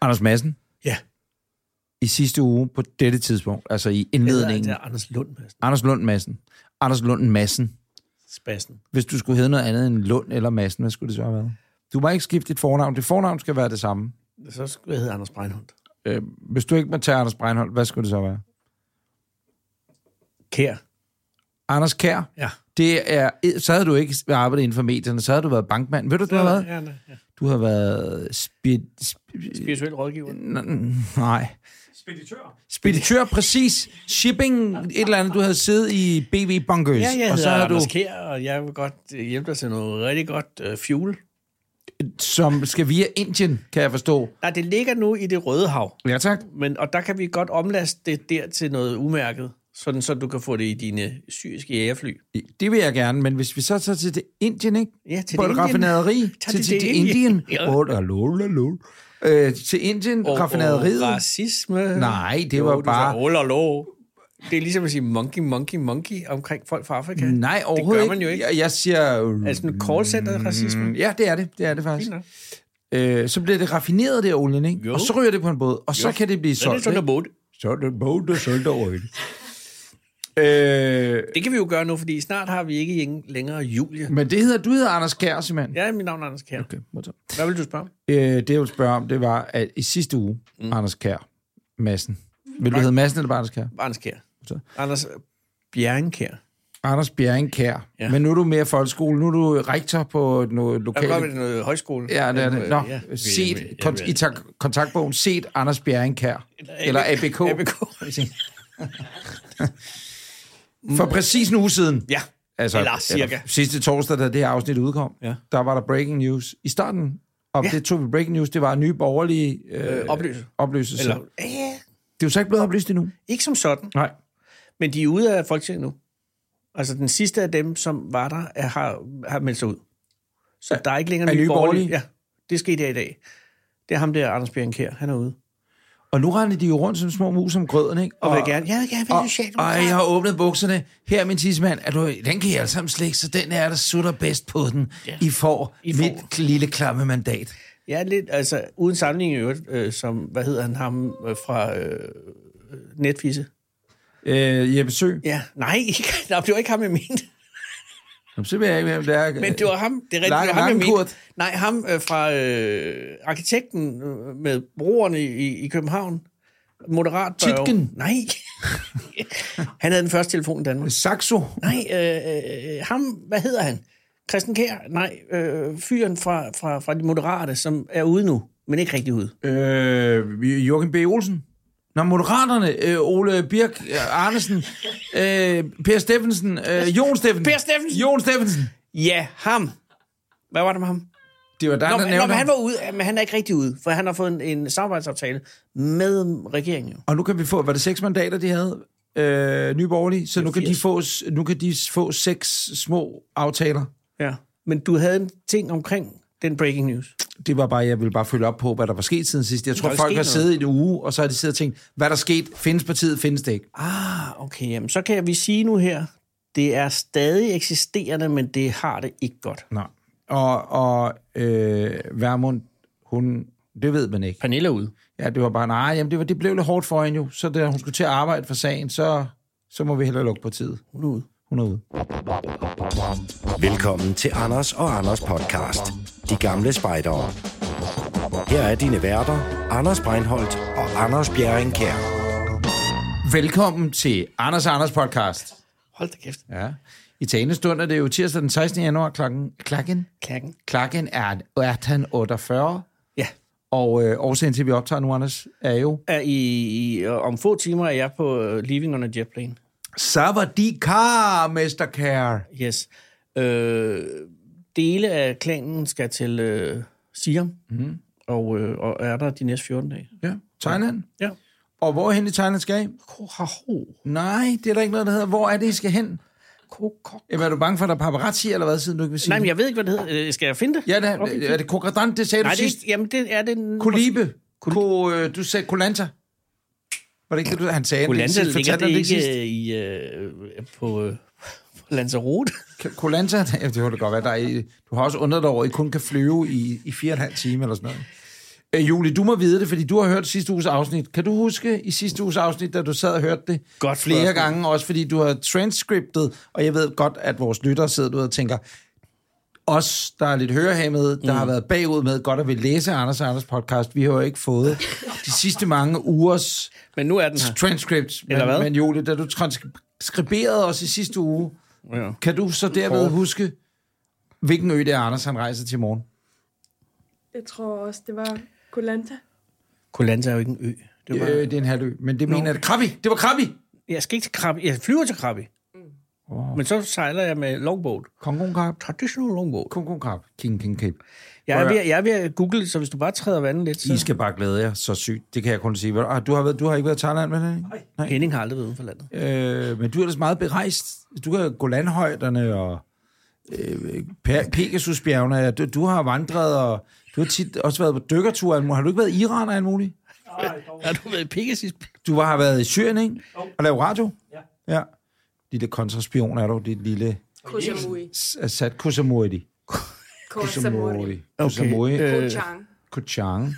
Anders Madsen, Ja. i sidste uge på dette tidspunkt, altså i indledningen, Det er Anders Lund Madsen. Anders Lund Madsen, Anders Lund Madsen, Spassen. hvis du skulle hedde noget andet end Lund eller Madsen, hvad skulle det så have været? Du må ikke skifte dit fornavn. Dit fornavn skal være det samme. Så skulle jeg hedde Anders Breinholt. Øh, hvis du ikke må tage Anders Breinholt, hvad skulle det så være? Kær. Anders Kær, Ja. det er, så havde du ikke arbejdet inden for medierne, så havde du været bankmand. Ved du, du havde været? Ja, ja. Du har været spid... sp- Spirituel rådgiver. n- nej. Speditør. Speditør, præcis. Shipping, et eller andet. Du havde siddet i BV Bunkers. Ja, jeg og så hedder har du, Anders Kær, og jeg vil godt øh, hjælpe dig til noget rigtig godt øh, fuel. som skal via Indien, kan jeg forstå. Nej, det ligger nu i det røde hav. Ja, tak. Men, og der kan vi godt omlaste det der til noget umærket, sådan så du kan få det i dine syriske jægerfly. Det vil jeg gerne, men hvis vi så tager til det Indien, ikke? Ja, til på det et Indien. raffinaderi. Tager Til, de til, til til Indien? Indien. Ja. Oh, da, lol, da, lol. Øh, til Indien, Og- og raffinaderiet. racisme. Nej, det var du bare- Sagde, "Ol, ol, ol." det er ligesom at sige monkey, monkey, monkey omkring folk fra Afrika. Nej, overhovedet man jo ikke. Altså, Jeg, jeg siger... Er det sådan en callcenter-racisme? Mm, ja, det er det. Det er det faktisk. Fint nok. Øh, så bliver det raffineret, det olien, ikke? Jo. Og så ryger det på en båd, og så Jo. kan det blive Så er det solgt. sådan en ikke? båd. Så er det en båd, der solgt over i det. Øh, Det kan vi jo gøre nu, fordi snart har vi ikke ingen- længere Julie. men det hedder, du hedder Anders Kjær, simpelthen. Ja, mit navn er Anders Kjær. Okay. Okay, Hvad vil du spørge om? øh, det, jeg ville spørge om, det var, at i sidste uge, mm. Anders Kjær, Madsen. Vil du hedde Madsen eller bare Anders Kjær? Anders Kjær. Så. Anders Bjerrenkjær. Anders Bjerring Kjær. Ja. Ja. Men nu er du mere folkeskole. Nu er du rektor på noget Jeg kan lokalt... godt være noget højskole. Ja, det er det. Nå, Ja. set, Jeg ved- jeg kont- ved- i tak- kontaktbogen, set Anders Bjerring Kær. Eller ABK. ABK. For præcis en uge siden. Altså, Ja. Eller cirka. sidste torsdag, da det her afsnit udkom, Ja. der var der breaking news i starten. Og Ja. det tog vi breaking news, det var nye borgerlige øh, Øh, opløse. opløselse. Eller, Eller... ja, Det er jo så ikke blevet oplyst endnu. ikke som sådan, Nej. men de er ude af Folketinget nu. Altså den sidste af dem, som var der, er, har, har meldt sig ud. Så der er ikke længere er Nye nye borgerlige. Borgerlige? Ja, det skete her i dag. Det er ham der, Anders Bjerrenkær, han er ude. Og nu render de jo rundt som små mus om grøden, ikke? Og, og vil gerne, jeg vil gerne være Og, og socialdemokrat. jeg har åbnet bukserne. Her er min tidsmand. Er du, den kan I alle sammen slikke, så den er der sutter bedst på den. Ja. I får I I mit får. lille klamme mandat. Ja, lidt, altså uden sammenligning i øvrigt, øh, som, hvad hedder han, ham øh, fra øh, Netfisse? Øh, Jeppe Sø. Ja, nej, ikke, nej, det var ikke ham, jeg mente. Jamen, så ved jeg ikke, hvem det er. Men det var ham, det er rigtigt, Lang- det var ham, jeg Langkurt. mente. Nej, ham øh, fra øh, arkitekten øh, med broerne i, i København. Moderat børge. Tietgen. Nej. han havde den første telefon i Danmark. Saxo. Nej, øh, øh, ham, hvad hedder han? Christian Kær? Nej, øh, fyren fra, fra, fra de moderate, som er ude nu, men ikke rigtig ude. Øh, Joachim B. Olsen. Nå, Moderaterne, øh, Ole Birk øh, Arnesen, øh, Per Steffensen, øh, Jon Steffensen. Per Steffensen? Jon Steffensen. Ja, ham. Hvad var det med ham? Det var dig, Nå, der men, nå, nævnte men han ham. var ude, ja, men han er ikke rigtig ude, for han har fået en, en samarbejdsaftale med regeringen. jo. Og nu kan vi få, var det seks mandater, de havde? Øh, Nye Borgerlige. Så nu kan, de 80. få, s- nu kan de få seks små aftaler. Ja. Men du havde en ting omkring den breaking news. Det var bare, jeg ville bare følge op på, hvad der var sket siden sidst. Jeg tror, Der er folk sket har noget. siddet i en uge, og så har de siddet og tænkt, hvad der er sket? Findes partiet? Findes det ikke? Ah, okay. Jamen, så kan vi sige nu her, det er stadig eksisterende, men det har det ikke godt. Nej. Og, og øh, Vermund, hun, det ved man ikke. Pernille er ude. Ja, det var bare, nej, jamen det, var, det blev lidt hårdt for hende jo. Så da hun skulle til at arbejde for sagen, så, så må vi hellere lukke partiet. Hun er ude. Hun er ude. Velkommen til Anders og Anders podcast. De gamle spejdere. Her er dine værter, Anders Breinholt og Anders Bjerringkær. Velkommen til Anders og Anders podcast. Hold da kæft. Ja. I talende stund er det jo tirsdag den 16. januar klokken. Klokken? Klakken. Klokken er 18.48. Ja. Og øh, årsagen til, at vi optager nu, Anders, er jo... Er I, i, og om få timer er jeg på uh, Leaving on a Jet Plane. Så var de kar, Mr. Kær. Yes. Øh, dele af klanen skal til øh, Siam, mm-hmm. og, øh, og er der de næste 14 dage. Ja. Thailand. Ja. Og hvor hen i Thailand skal I? Ho-ha-ho. Nej, det er der ikke noget, der hedder. Hvor er det, I skal hen? Ko-ko. Jamen, er du bange for, at der er paparazzi, eller hvad, siden du ikke vil sige Nej, men det? jeg ved ikke, hvad det hedder. Øh, Skal jeg finde det? Ja, det er, er det kokradant, det sagde Nej, du det, sidst. er- jamen, det er den... Kolibe. Ko, øh, du sagde kolanta. Var det ikke det, du, han sagde? Polanta Sidst ligger fortalte det han ikke sidst. øh, i, øh, på, øh, på Lanzarote. Kan- Kolanta, ja, det kunne det godt være. Der er, i- du har også undret dig over, at I kun kan flyve i, i fire og en halv time eller sådan noget. Øh, Julie, du må vide det, fordi du har hørt sidste uges afsnit. Kan du huske i sidste uges afsnit, da du sad og hørte det Godt flere spørgsmål. gange, også fordi du har transcriptet, og jeg ved godt, at vores lyttere sidder derude og tænker, os, der er lidt hørehæmmede, der mm. har været bagud med godt at vil læse Anders og Anders podcast, vi har jo ikke fået de sidste mange ugers Men nu er den her. transcripts. Men, Eller hvad? men Julie, da du transkriberede os i sidste uge, Ja. kan du så derved huske, hvilken ø det er, Anders han rejser til i morgen? Jeg tror også, det var Kolanta. Kolanta er jo ikke en ø. Det var... Øh, det er en halvø, men det mener jeg... Krabi! Det var Krabi! Øh, Jeg skal ikke til Krabi. Jeg flyver til Krabi. Oh. Men så sejler jeg med longboat. Kongon Krab. Traditional longboat. Kongon Krab. King King Cape. Jeg Prøv er, at ved, jeg er ved at google, så hvis du bare træder vandet lidt, I så... skal bare glæde jer så sygt. Det kan jeg kun sige. Hvor- Ah, du, har været, du har ikke været i Thailand, vel? Henning? Nej. Henning har aldrig været uden for landet. Øh, men du er ellers meget berejst. Du kan gå landhøjderne og øh, Pe- Pegasusbjergene. Du, du har vandret, og du har tit også været på dykkertur. og alt muligt. Har du ikke været i Iran og alt muligt? Har du været i Pegasus? Du var, har været i Syrien, ikke? Og lavet radio? Ja. ja. Lille kontraspion er du, dit lille Kosamui. Assad Kusamurdi. Kosamui. Kusamurdi. Okay, øh, Kochang. Kuchang.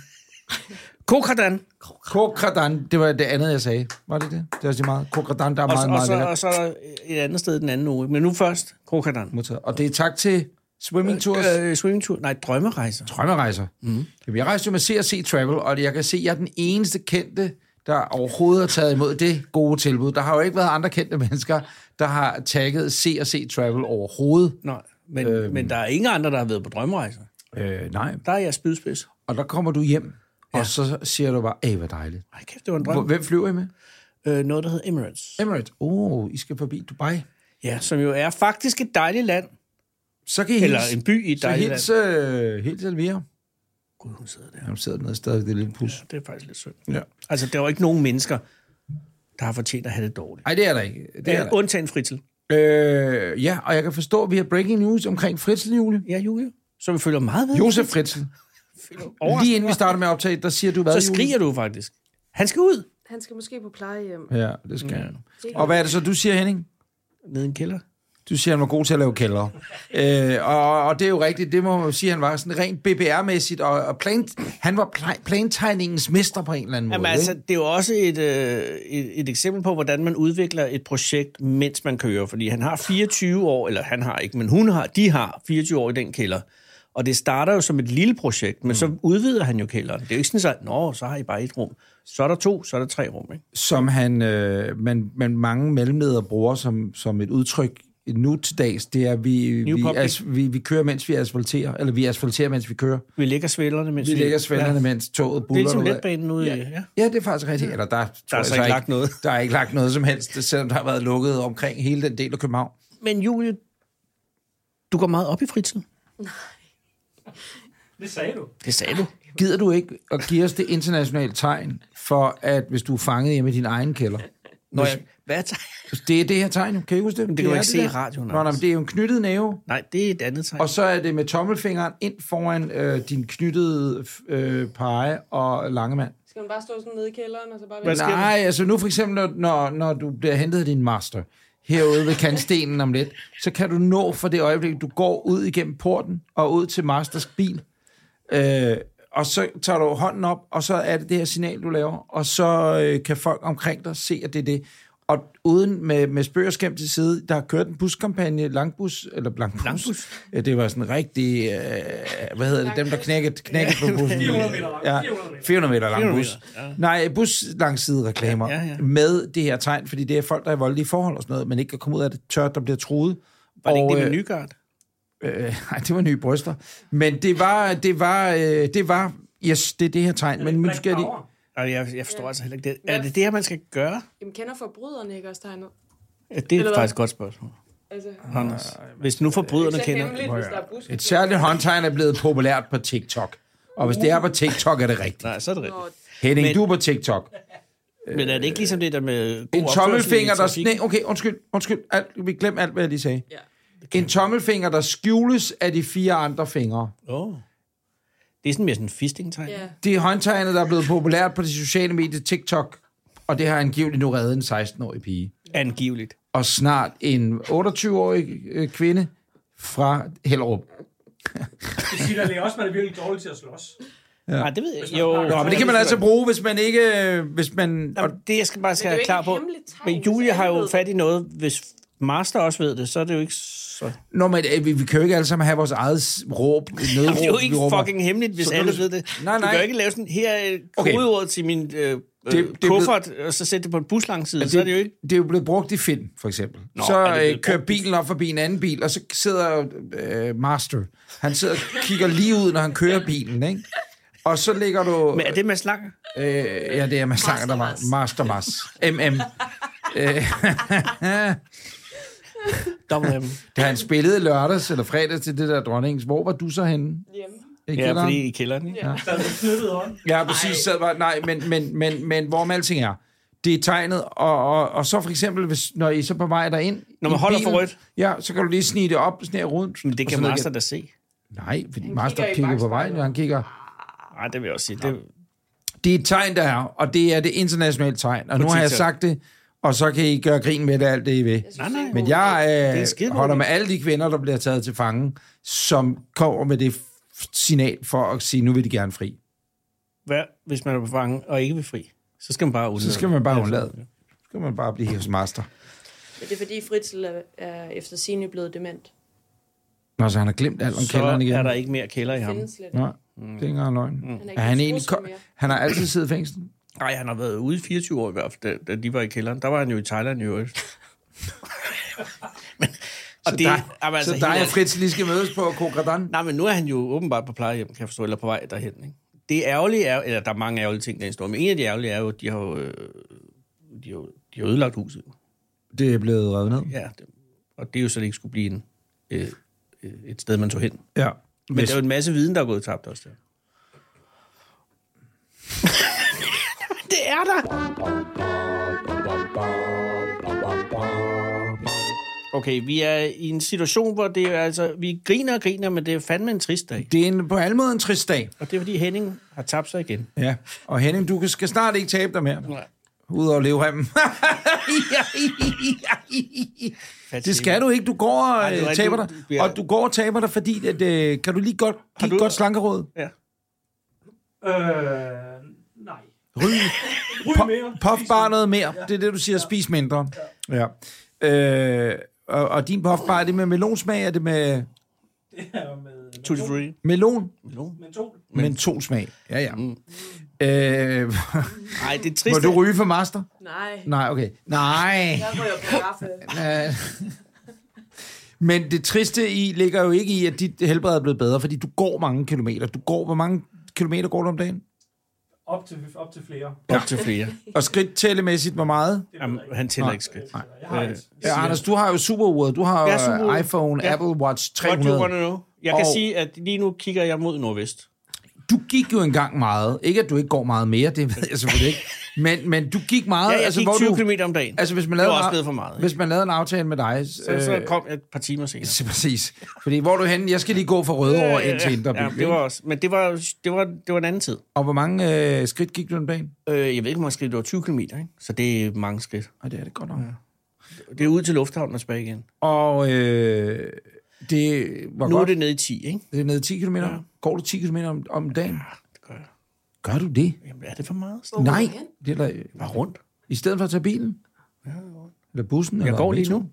Kokradan. Kokradan, det var det andet, jeg sagde. Var det det? Det var så meget. Kokradan, der er Og, så- meget, meget og, så, lækkert. og så er der et andet sted den anden uge. Men nu først Kokradan. modtaget. Og det er tak til Swimming Tours øh, Øh, swimmingtur. Nej, drømmerejser. drømmerejser. Mm. Jeg rejste jo med C&C Travel, og jeg kan se, at jeg er den eneste kendte, der overhovedet har taget imod det gode tilbud. Der har jo ikke været andre kendte mennesker, der har tagget C&C Travel overhovedet. Nej, men, øhm. men der er ingen andre, der har været på drømmerejser. Øh, nej. Der er jeg spydspids. Og der kommer du hjem, ja. og så siger du bare, æh, hvor dejligt. Ej, kæft, det var en Hvor- drøm. Hvem flyver I med? Øh, noget, der hedder Emirates. Emirates. Oh, I skal forbi Dubai. Ja, som jo er faktisk et dejligt land. Så kan I Eller hilse- en by i et Så dejligt land. hils, øh, hils Elvira. Gud, hun sidder der. Jamen, sidder dernede stadig, det er lidt pus. Det er faktisk lidt synd. Ja. Altså, der er jo ikke nogen mennesker, der har fortjent at have det dårligt. Ej, det er der ikke. Det er Ja, der. undtagen Fritel. Øh, ja, og jeg kan forstå, at vi har breaking news omkring Fritzl, Julie. Ja, Julia. Så vi følger meget ved. Josef Fritzl. Lige inden vi starter med at optage, der siger du hvad, så skriger du faktisk. Han skal ud. Han skal måske på plejehjem. Julie? Ja, det skal han. Og hvad er det så, du siger, Henning? Nede i en kælder. Du siger, han var god til at lave kældre. Øh, og, og det er jo rigtigt, det må man jo sige, han var sådan rent BBR-mæssigt, og, og plan, han var pla- plantegningens mester på en eller anden måde. Jamen, altså, det er jo også et, øh, et, et eksempel på, hvordan man udvikler et projekt, mens man kører. Fordi han har 24 år, eller han har ikke, men hun har, de har 24 år i den kælder. Og det starter jo som et lille projekt, men mm. så udvider han jo kælderen. Det er jo ikke sådan, at nå, så har I bare et rum. Så er der to, så er der tre rum. Ikke? som han, øh, man, man mange mellemledere bruger som, som et udtryk nu til dags, det er, vi, New vi, public. as, vi, vi kører, mens vi asfalterer, eller vi asfalterer, mens vi kører. Vi lægger svælderne, mens Vi lægger svenderne, mens toget Det er buller ligesom derudad. letbanen ude ja. i... Ja. Ja, det er faktisk rigtigt. Eller der, der altså ikke lagt noget. Der er ikke lagt noget som helst, selvom der har været lukket omkring hele den del af København. Men Julie, du går meget op i fritiden. Det sagde du. Det sagde du. Gider du ikke at give os det internationale tegn for, at hvis du er fanget hjemme i din egen kælder? Nå, jeg, hvad er Det er det her tegn, jo. kan I huske det? det kan man er ikke se der. i radioen, Nå, altså. nej, Anders. men det er jo en knyttet næve, Nej, det er et andet tegn. og så er det med tommelfingeren ind foran øh, din knyttede øh, pege og langemand. Skal man bare stå sådan nede i kælderen, og så bare Hvad vente? sker der? Nej, altså nu for eksempel, når- når, når du bliver hentet af din master herude ved kantstenen om lidt, så kan du nå fra det øjeblik, du går ud igennem porten og ud til masters bil, øh, og så tager du hånden op, og så er det det her signal, du laver, og så øh, kan folk omkring dig se, at det er det. Og uden med, med spøg og skæm til side, der har kørt en buskampagne, langbus, eller langbus, langbus. det var sådan rigtig, øh, hvad hedder det, dem der knækkede, knækkede på bussen. 400 meter lang. Ja, 400 meter. 400 meter lang bus. Nej, bus langside reklamer Ja, ja, ja. med det her tegn, fordi det er folk, der er i voldelige forhold og sådan noget, men ikke kan komme ud af det tørt, der bliver truet. Var det og, ikke det øh, med Nygaard? Øh, nej, det var nye bryster. Men det var, det var, øh, det var, yes, det er det her tegn. Men måske er det... Nej, jeg, jeg forstår altså heller ikke det. Er det det her, man skal gøre? Jamen, kender forbryderne ikke også tegnet? Ja, det er hvad? faktisk et godt spørgsmål, Altså, det Anders. Hvis nu forbryderne er kender... hemmeligt, hvis der er busk. Et særligt håndtegn er blevet populært på TikTok. Og hvis det er på TikTok, er det rigtigt. Nej, så er det rigtigt. Og Henning, Men- du er på TikTok. Men er det ikke ligesom det der med... god En opførsel i tommelfinger, der... trafik? Nej, okay, undskyld, undskyld. Alt, vi glemte alt, hvad jeg lige sagde. Ja. En tommelfinger, der skjules af de fire andre fingre. Åh. Det er sådan mere sådan en fisting-tegn. ja, Det er håndtegnet, der er blevet populært på de sociale medier TikTok. Og det har angiveligt nu reddet en 16-årig pige. Angiveligt. og snart en 28-årig øh, kvinde fra Hellerup. Det siger da også, man er virkelig dårlig til at slås. Ja. Nej, det ved jeg. Jo, Nå, men det kan man altså bruge, hvis man ikke... øh, Hvis man, og, Jamen, det jeg skal bare skal Men det er jo ikke være klar et på. hemmeligt tegn, Men hvis Julie har alle jo ved fat i noget. Hvis Master også ved det, så er det jo ikke så... nå, men øh, vi, vi kan jo ikke alle sammen have vores eget s- råb, nødråb. Jamen, det er jo ikke vi råber. fucking hemmeligt, hvis Så alle du- ved det. Nej, Du nej. kan jo ikke lave sådan, her er Okay. kodeordet okay. til min øh, det er det, blevet- kuffert, og så sætte det på en buslangside. Det, så er det jo ikke... det er jo blevet brugt i film, for eksempel. Nå, er det så blevet øh, kører brugt bilen op forbi en anden bil, og så sidder øh, Master. Han sidder og kigger lige ud, når han kører bilen, ikke? Og så ligger du... Men er det med slanger? Øh, ja, det er Mads Langer, der var Master Mas. MM. Double M. Da han spillede lørdags eller fredags til det der dronningens, hvor var du så henne? Hjemme. I Ja, kælderen? fordi i kælderen, ikke? Ja. Ja, præcis. Sad bare, nej, men, men, men, men hvor med alting er. Det er tegnet, og, og, og så for eksempel, hvis, når I så på vej derind... Når man i holder for bilen, rødt. Ja, så kan du lige snige det op, snige rundt. Men det og kan så Master ligger- da se. Nej, fordi Master kigger i kigger, kigger på vejen, bakspejlet. og han kigger... Nej, det vil jeg også sige. Det, Det er et tegn, der er, og det er det internationale tegn. Og nu har jeg TikTok. sagt det, og så kan I gøre grin med det alt det, I vil. nej, nej. Men jeg en skide øh, god holder idé. med alle de kvinder, der bliver taget til fange, som kommer med det f- signal for at sige, nu vil de gerne fri. Hvad, hvis man er på fange og ikke vil fri? Så skal man bare undlade. Så skal man bare undlade. Så skal man bare blive hos master. Men det er fordi Fritzel er, er efter sine blevet dement. Nå, så han har glemt alt om Så kælderen igen. er der ikke mere kælder i ham. Findes slet ikke. Nej, det er ikke engang løgn. Mm. er Er ikke han, blevet egentlig truslet ko- mere. han har altid siddet i fængsel. Nej, han har været ude i 24 år i hvert fald, da, da de var i kælderen. Der var han jo i Thailand i øvrigt. men, Så og det, der, jamen, altså, så der er helt- Fritz lige skal mødes på Kokradan. Nej, men nu er han jo åbenbart på plejehjem, kan jeg forstå, eller på vej derhen. Ikke? Det ærgerlige er, eller der er mange ærgerlige ting, der er i historien, men en af de ærgerlige er jo, at de har jo, øh, de har, jo- de har ødelagt huset. Det er blevet revet ned. Ja, det, og det er jo så, det ikke skulle blive en, øh, øh, et sted, man tog hen. Ja. Men Hvis- der er jo en masse viden, der er gået tabt også der. det er der! Okay, vi er i en situation, hvor det er altså... Vi griner og griner, men det er fandme en trist dag. Det er en, på alle måder en trist dag. Og det er, fordi Henning har tabt sig igen. Ja. Og Henning, du kan- skal snart ikke tabe dig mere. Nej. Udover leverhemmen. Det skal du ikke. Du går og det er øh, rigtigt. taber dig. Du bliver- Og du går og taber dig, fordi... At, øh, kan du lige godt give du- et godt slankeråd? Ja. Øh, nej. Ryg. Ryg Po- mere. Puff bare noget mere. Det er det, du siger. Spis mindre. Ja. Øh, og, og din puffbar, er det med melonsmag? Er det med Det er med Tutti Frutti. melon? mentol. Mentolsmag. Ja, ja. Mm. Øh, Nej, det er må trist. du ryge for master? Nej. Nej, okay. Nej. Jeg ryger på kaffe. Øh. Men det triste i ligger jo ikke i, at dit helbred er blevet bedre, fordi du går mange kilometer. Du går, hvor mange kilometer går du om dagen? Op til, op til flere. Op til flere. Og skridt tællemæssigt, hvor meget? Jamen, han tæller ikke skridt. Nej. Jeg har et. Ja, Anders, du har jo superuret. Du har Jeg jo er superuret. øh, iPhone, Ja. Apple Watch What do you 300. wanna know? Jeg kan Og- sige, at lige nu kigger jeg mod nordvest. Du gik jo engang meget. Ikke, at du ikke går meget mere, det ved jeg selvfølgelig ikke. Men, men du gik meget. Ja, jeg altså, gik hvor 20 du, km om dagen. Altså, hvis man det lavede, en var også af- blevet for meget. Hvis, Hvis man lavede en aftale med dig... øh, så kom jeg et par timer senere. så præcis. Fordi hvor er du henne? Jeg skal lige gå fra Rødovre ind til Indreby. ja, det var også, men det var, det var, det var en anden tid. Og hvor mange øh, skridt gik du om dagen? Øh, jeg ved ikke, hvor mange skridt det var. 20 km, ikke? Så det er mange skridt. Og det er det godt nok. Ja. Det er ud til lufthavnen og tilbage igen. Og øh, det var Nu er godt. det nede i 10, ikke? Det er nede 10 km. Ja. Går du 10 km om, om dagen? Det gør jeg. Gør du det? Jamen, er det for meget? Hvor Nej. er det hen? Det er da, Bare rundt. I stedet for at tage bilen? Ja, eller bussen? Jeg eller går lige metroen? nu.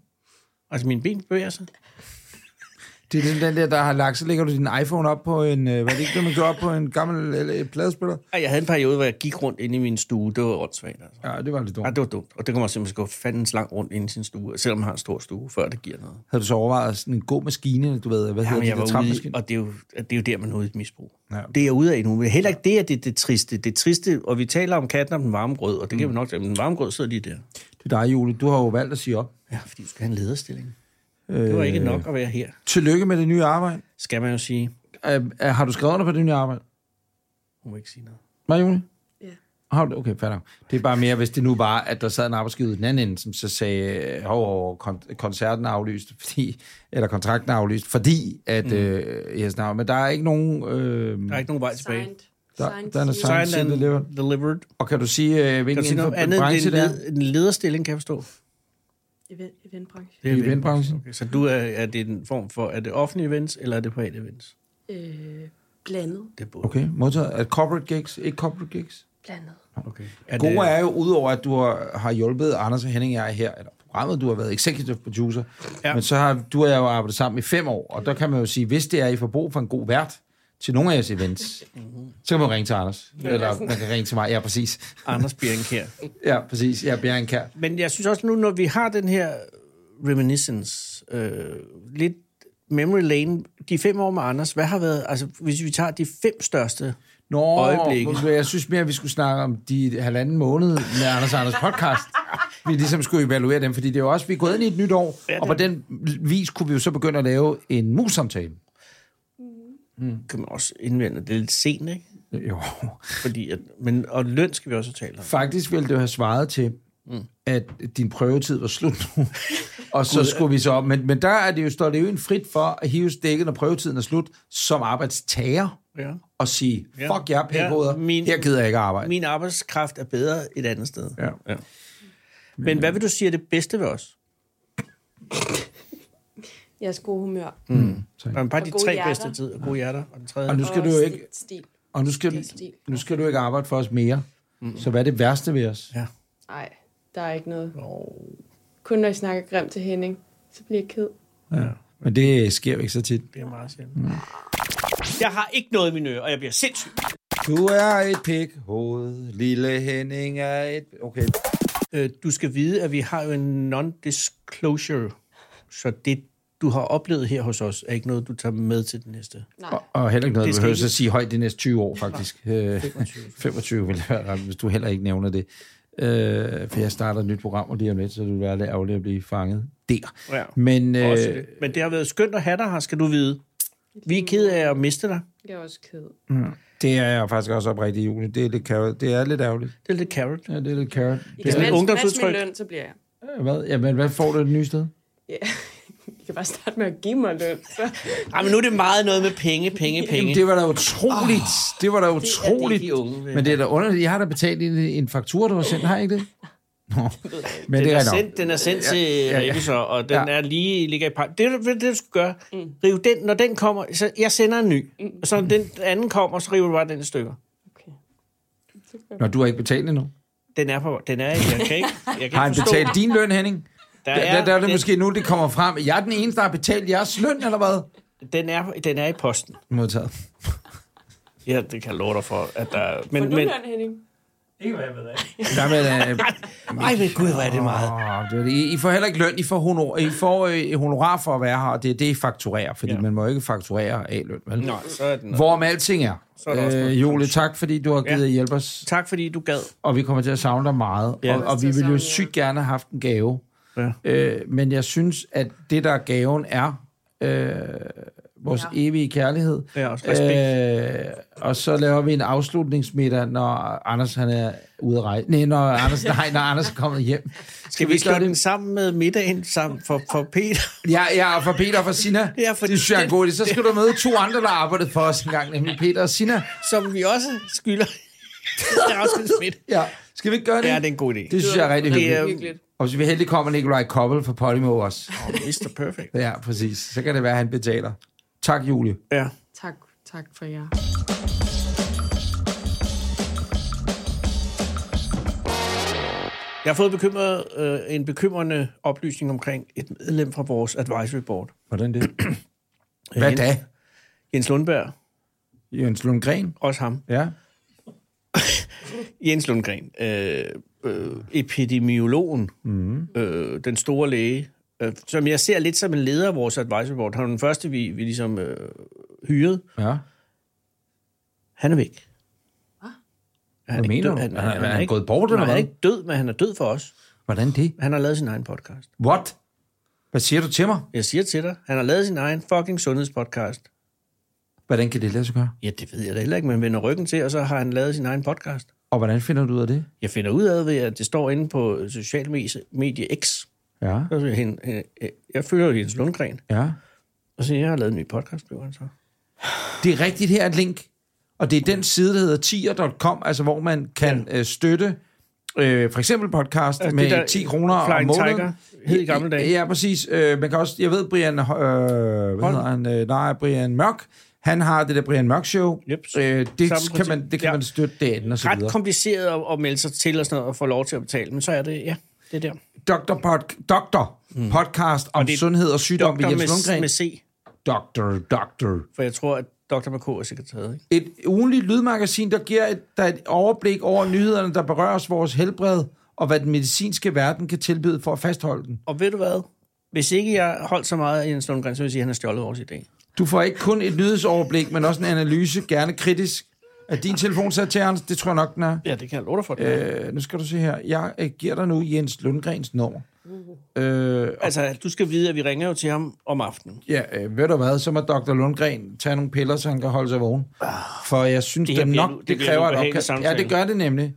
Altså, mine ben bevæger sig. Det er ligesom den, den der, der har lagt, så lægger du din iPhone op på en, øh, hvad er det ikke, det, man gør op på en gammel eller, et pladespiller? Ej, Jeg havde en periode, hvor jeg gik rundt inde i min stue. Det var åndssvagt, altså. Ja, det var lidt dumt. Ja, det var dumt. Og det kommer simpelthen gå fandens langt rundt ind i sin stue, selvom man har en stor stue, før det giver noget. Havde du så overvejet sådan en god maskine, du ved, hvad hedder Jamen, det, der jeg var ude, i- trappemaskine? og det er, jo, at det er jo der, man er ude i et misbrug. Ja. Ja. Det er jeg ude af nu. Men heller ikke det, at det er det triste. Det triste, og vi taler om katten om den varme grød, og det kan vi nok tage, men den varme grød sidder lige der. Det er dig, Julie. Du har jo valgt at sige op. Ja, fordi du skal have en lederstilling. Det var ikke Øh. nok at være her, Tillykke med det nye arbejde. skal man jo sige. Øh, øh, har du skrevet under på det nye arbejde? Hun må ikke sige noget. Hvad, Julie? Ja. Har du, okay, fair nok. Det er bare mere, hvis det nu var, at der sad en arbejdsgiver i den anden ende, som så sagde, øh, hov, hov, kon- koncerten er aflyst, fordi, eller kontrakten er aflyst, fordi at, mm. øh, yes, no, men der er ikke nogen, øh, Der er ikke nogen vej tilbage. Signed. der, Signed der er noget seal. signed, Signed seal and delivered. delivered. Og kan du sige, øh, Kan hvilken du sige inden noget for andet end branche en, det er? led, en lederstilling, kan jeg forstå? Event, eventbranche. I eventbranchen. Okay, så du er, er det en form for, er det offentlige events, eller er det private events? Øh, Blandet. Det burde. Okay, modtaget. Er det corporate gigs? Ikke corporate gigs? Blandet. Okay. Er det, Gode er jo, udover at du har, har hjulpet Anders og Henning og jeg her, eller programmet, du har været executive producer, Ja. ja. men så har du og jeg jo arbejdet sammen i fem år, og der kan man jo sige, hvis det er, I får brug for en god vært til nogle af jeres events, Mhm. så kan man ringe til Anders, eller man kan ringe til mig, ja, præcis. Anders Bjernkær. Ja, præcis, ja, Bjerg Kær. Men jeg synes også nu, når vi har den her reminiscence, øh, lidt memory lane, de fem år med Anders, hvad har været, altså hvis vi tager de fem største, Nå, Øjeblikke. men jeg synes mere, at vi skulle snakke om de halvanden måned med Anders og Anders podcast. Vi ligesom skulle evaluere dem, fordi det er jo også, vi er gået ind i et nyt år, og på den vis kunne vi jo så begynde at lave en mus-samtale. kan man også indvende, det er lidt sent, ikke? Jo, Fordi at, men, og løn skal vi også tale om. Faktisk ville det jo have svaret til, mm. at din prøvetid var slut nu, og så skulle vi så op. Men, men der er det jo, står det jo en frit for at hive stikket, når prøvetiden er slut, som arbejdstager, Ja. og sige, Ja. fuck jer, Ja, pækoder, min- her gider jeg ikke arbejde. Min arbejdskraft er bedre et andet sted. Ja. ja. Men hvad vil du sige er det bedste ved os? Jeres gode humør. Jamen, bare Og de gode tre hjerter. bedste tid, og gode hjerter, og den tredje. Og nu skal du jo også ikke, lidt Stil. og nu skal, stil. nu skal du ikke arbejde for os mere. Mm. Så hvad er det værste ved os? Ja. Nej, der er ikke noget. Oh. Kun når I snakker grimt til Henning, så bliver jeg ked. Men det sker jo ikke så tit. Det er meget sjældent. Jeg har ikke noget i mine ører, og jeg bliver sindssyg. Du er et pikhoved, lille Henning er et... Okay. Øh, Du skal vide, at vi har jo en non-disclosure, så det, du har oplevet her hos os, er ikke noget, du tager med til det næste. Og, og heller ikke noget, Det du skal behøver ikke- at sige højt de næste 20 år, faktisk. Øh, 25 vil være ret, hvis du heller ikke nævner det. Øh, for jeg starter et nyt program, og lige om lidt, så du vil være lidt ærgerlig at blive fanget der. Ja. Men øh, Også det. Men det har været skønt at have dig her, skal du vide. Vi er ked af at miste dig. Jeg er også ked. det er jeg faktisk også oprigtig i juni. Det er lidt, carrot. det er lidt ærgerligt. Det er lidt carrot. Ja, det er lidt carrot. I er kan sådan et matche, matche ungdomsudtryk. min løn, så bliver jeg. Hvad? Jamen, hvad får du det nye sted? I kan bare starte med at give mig løn. Så. Ej, men nu er det meget noget med penge, penge, Jamen, penge. det var da utroligt. Oh, det var da utroligt. de unge vil. Men det er da underligt. Jeg har da betalt en, en faktur, du har sendt. Har jeg ikke det? Nå. Men det Den er er, rigtigt. nok. sendt, den er sendt ja, til ja, ja. Revisor, og den Ja. ja. er lige ligger i par. Det er det, du skal gøre. Mm. Riv den, når den kommer. Så jeg sender en ny. Mm. Og så når den anden kommer, så river du bare den i stykker. Nå, du har ikke betalt endnu. Den er på. Den er ikke. Jeg kan ikke, jeg kan ikke Har han forstå. betalt din løn, Henning? Der Ja, der, der er det den, måske nu, det kommer frem. Jeg er den eneste, der har betalt jeres løn, eller hvad? Den er, den er i posten. Modtaget. Ja, det kan jeg love dig for. At der, men, Men, du men, løn, Henning? Ikke hvad jeg ved af. Der med, øh, ej, men gud, hvor er det meget. åh, det er det. I I får heller ikke løn, I får, honor, I får øh, honorar for at være her, og det er det, I fakturerer, fordi Ja. ja. man må ikke fakturere af løn, vel? Nej, så er den. Hvorom alting er. er der også noget Øh, Jule, tak fordi du har givet Ja. ja. hjælp os, Tak fordi du gad. og vi kommer til at savne dig meget, Ja. ja. og, og vi ville jo sygt gerne have haft en gave. Ja. Øh, men jeg synes, at det, der er gaven, er øh, vores ja. evige kærlighed. Ja, og respekt. Øh, og så laver vi en afslutningsmiddag, når Anders han er ude at rejse. Nej, når Anders, nej, når Anders er kommet hjem. Skal vi slå gøre den sammen med middagen sammen for, for Peter? Ja, ja, og for Peter og for Sina. Ja, Ja, for for det synes jeg er det- godt. Så skal du møde to andre, der arbejdede for os en gang, nemlig Peter og Sina. Som vi også skylder. det er også en smidt. Ja, skal vi ikke gøre det? Ja, det er en god idé. det synes jeg er rigtig Det er- hyggeligt. Hyggeligt. Og hvis vi heldig kommer Nikolaj Koppel fra Podimo også. Mr. Perfect. Ja, præcis. Så kan det være, at han betaler. Tak, Julie. Ja. Tak, tak for jer. Jeg har fået bekymret, øh, en bekymrende oplysning omkring et medlem fra vores advisory board. Hvordan det? Hvad da? Jens Lundberg, Jens Lundgren? også ham. Ja. Jens Lundgren, øh, øh, epidemiologen, Mhm. mm. øh, den store læge, øh, som jeg ser lidt som en leder af vores advisory board. Han var den første, vi, vi ligesom øh, hyrede. Ja. Han er væk. Hvad? Hvad mener du? Han, Er han, han, han er ikke gået bort, eller Nej, Han er hvad? ikke død, men han er død for os. Hvordan det? Han har lavet sin egen podcast. What? Hvad siger du til mig? Jeg siger til dig, han har lavet sin egen fucking sundhedspodcast. Hvordan kan det lade sig gøre? Ja, det ved jeg da heller ikke, men han vender ryggen til, og så har han lavet sin egen podcast. Og hvordan finder du ud af det? Jeg finder ud af, ved, at det står inde på øh, social medie, medie X. Ja. Så siger han, øh, øh, jeg følger jo Jens Lundgren, Ja. og så siger, jeg, jeg har lavet en ny podcast, blev han så. Det er rigtigt, her er et link. Og det er den side, der hedder tier.com, altså hvor man kan ja. øh, støtte øh, for eksempel podcast Altså, altså, med det der 10 kroner om Flying måneden. Tiger hed i gamle dage. Ja, præcis. Øh, man kan også, jeg ved, Brian, øh, hvad hedder han? Øh, nej, Brian Mørk Han har det der Brian Mørk Show. Yep. Øh, det, Samme kan princip. man, det kan Ja. man støtte derinde og så Ret videre. kompliceret at, at melde sig til og sådan noget, og få lov til at betale, men så er det, ja, det er der. Dr. Pod- Doktor podcast om Mm. det er sundhed og sygdom ved Jens Doktor med, Lundgren. med C, Doktor, doktor. for jeg tror, at Dr. Marco er sekretæret, ikke? Et ugenligt lydmagasin, der giver et, der et overblik over nyhederne, der berører os vores helbred, og hvad den medicinske verden kan tilbyde for at fastholde den. Og ved du hvad? Hvis ikke jeg holdt så meget af Jens Lundgren, så vil jeg sige, at han har stjålet vores idé. Du får ikke kun et nyhedsoverblik, men også en analyse, gerne kritisk. Er din telefon sat til, Anders? Det tror jeg nok, den er. Ja, det kan jeg love dig for. Øh, Øh, nu skal du se her. Jeg øh, giver dig nu Jens Lundgrens nummer. Øh, altså, du skal vide, at vi ringer jo til ham om aftenen. ja, øh, ved du hvad, så må Dr. Lundgren tage nogle piller, så han kan holde sig vågen. For jeg synes det Ah, Det her dem bliver nok, nu- det, det det bliver kræver en et ubehagelig opkast. Ja, samtale. det gør det nemlig.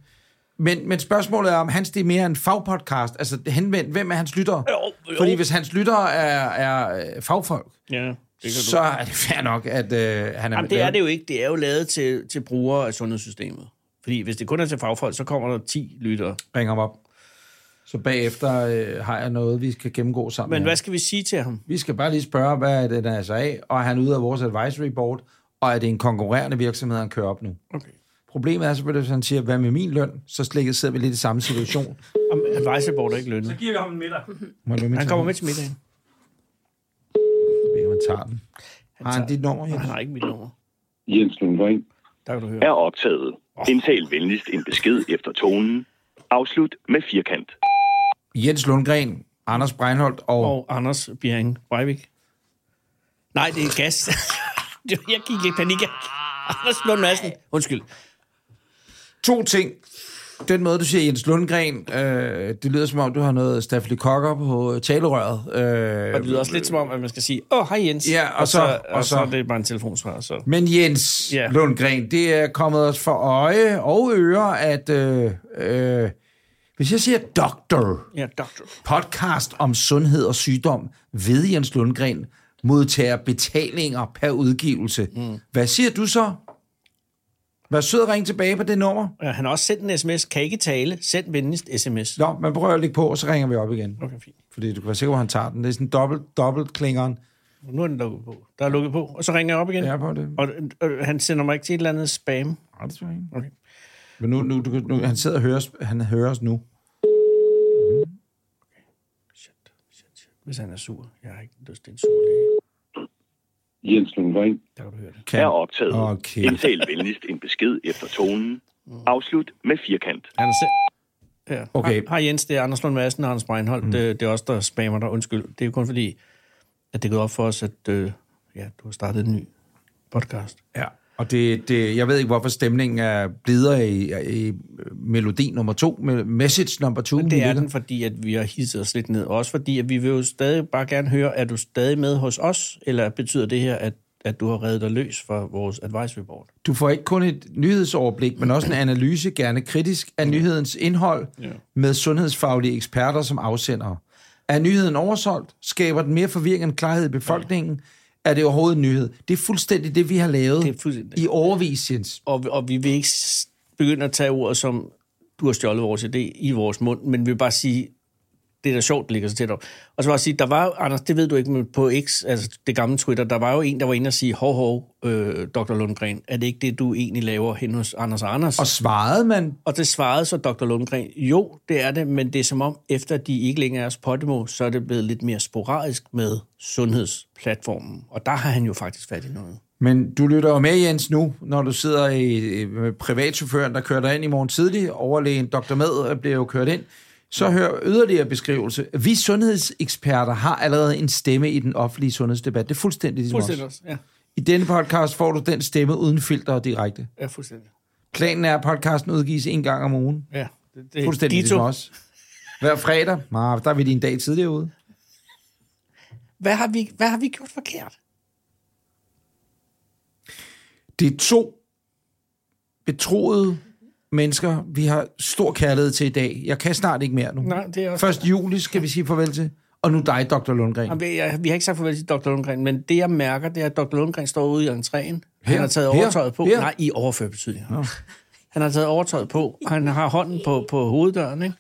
Men, men spørgsmålet er, om hans det er mere en fagpodcast. Altså henvendt, hvem er hans lyttere? Jo, jo. Fordi hvis hans lyttere er, er øh, fagfolk, Ja, det kan så er det fair nok, at øh, han er... Jamen, det er det jo ikke. Det er jo lavet til, til brugere af sundhedssystemet. Fordi hvis det kun er til fagfolk, så kommer der 10 lyttere. Ring ham op. Så bagefter øh, har jeg noget, vi skal gennemgå sammen. Men her. hvad skal vi sige til ham? Vi skal bare lige spørge, hvad er det, der er sig af, og er han ude af vores advisory board, og er det en konkurrerende virksomhed, han kører op nu? Okay. Problemet er selvfølgelig, hvis han siger, hvad med min løn? Så slikket sidder vi lidt i samme situation. Om advisorbord er ikke Så lønnet. giver vi ham en middag. Må du Han kommer med til middagen. Man tager den. Han, Har han dit nummer? han Jens? har ikke mit nummer. Jens Lundgren Der kan du høre. er optaget. Indtal venligst en besked efter tonen. Afslut med firkant. Jens Lundgren, Anders Breinholt og... Og Anders Bjerring Breivik. Nej, det er gas. Det- jeg gik i panik. Anders Lund Madsen. Undskyld. To ting. Den måde, du siger Jens Lundgren, øh, det lyder som om, du har noget stafylokokker på talerøret. Øh, Og det lyder også lidt som om, at man skal sige, åh, oh, hej Jens. Ja, og og, så- så, og og så, så- er det bare en telefonsvar. Så. Men Jens Ja. yeah. Lundgren, det er kommet os for øje og øre, at øh, øh, hvis jeg siger doktor, Ja, doktor. podcast om sundhed og sygdom ved Jens Lundgren, modtager betalinger per udgivelse. Mm. Hvad siger du så? Vær sød og ring tilbage på det nummer. Ja, Han har også sendt en sms. Kan ikke tale. Send venligst sms. Nå, man prøver at lægge på, og så ringer vi op igen. Okay, fint. Fordi du kan være sikker på, at han tager den. Det er sådan dobbelt, dobbelt klingeren. Nu er den lukket på. Der er lukket på. Og så ringer jeg op igen. Jeg Ja. er på det. Og øh, han sender mig ikke til et eller andet spam. Nej, det tror jeg ikke. Okay. Men nu, nu, du, kan- nu, han sidder og hører os, han hører os nu. Hvis han er sur. Jeg har ikke lyst til en sur læge. Jens Lundgren Der kan du høre det. Kan. er optaget. Okay. Indtal venligst en besked efter tonen. Afslut med firkant. Han er selv... Ja. Okay. Hej, hej Jens, det er Anders Lund Madsen og Hans Breinholt. Mm. Det, det er os, der spammer dig. Undskyld. Det er jo kun fordi, at det er gået op for os, at øh, ja, du har startet en ny podcast. Ja, og det, det, jeg ved ikke, hvorfor stemningen er blidere i, i melodi nummer to, med message nummer to. vi Det er ligger. den, fordi at vi har hisset os lidt ned. Også fordi, at vi vil jo stadig bare gerne høre, er du stadig med hos os, eller betyder det her, at, at du har reddet dig løs fra vores advisory board? Du får ikke kun et nyhedsoverblik, men også en analyse, gerne kritisk, af nyhedens indhold med sundhedsfaglige eksperter som afsendere. Er nyheden oversolgt? Skaber den mere forvirring end klarhed i befolkningen? Er det overhovedet en nyhed? Det er fuldstændig det, vi har lavet Det er fuldstændig- i overvis, Jens. og, og vi vil ikke s- begynde at tage ord som, du har stjålet vores idé i vores mund, men vi vil bare sige, det er da sjovt, det ligger så tæt op. Og så bare sige, der var jo, Anders, det ved du ikke, men på X, altså det gamle Twitter, der var jo en, der var inde og sige, hov, hov, øh, Dr. Lundgren, er det ikke det, du egentlig laver hen hos Anders og Anders? Og Og, svarede man, og det svarede så Dr. Lundgren, jo, det er det, men det er som om, efter de ikke længere er hos Podimo, så er det blevet lidt mere sporadisk med sundhedsplatformen. Og der har han jo faktisk fat i noget. Men du lytter jo med, Jens, nu, når du sidder i, i- med privatchaufføren, der kører dig ind i morgen tidlig. Overlægen Dr. Med øh, bliver jo kørt ind. Så hør yderligere beskrivelse. Vi sundhedseksperter har allerede en stemme i den offentlige sundhedsdebat. Det er fuldstændig ligesom os. ja. I denne podcast får du den stemme uden filter og direkte. Ja, fuldstændig. Planen er, at podcasten udgives en gang om ugen. Ja, det, det, Fuldstændig de ligesom to- os. Hver fredag. Nå, der er vi lige en dag tidligere ude. hvad har vi, hvad har vi gjort forkert? Det er to betroede mennesker, vi har stor kærlighed til i dag. Jeg kan snart ikke mere nu. Nej, det er også... Først juli skal vi sige farvel til, og nu dig, Dr. Lundgren. Jamen, vi- jeg- vi har ikke sagt farvel til Dr. Lundgren, men det, jeg mærker, det er, at Dr. Lundgren står ude i entréen. Her? Han har taget Her? overtøjet på. Her? Nej, i overført betydning. Han har taget overtøjet på, og han har hånden på, på hoveddøren, ikke?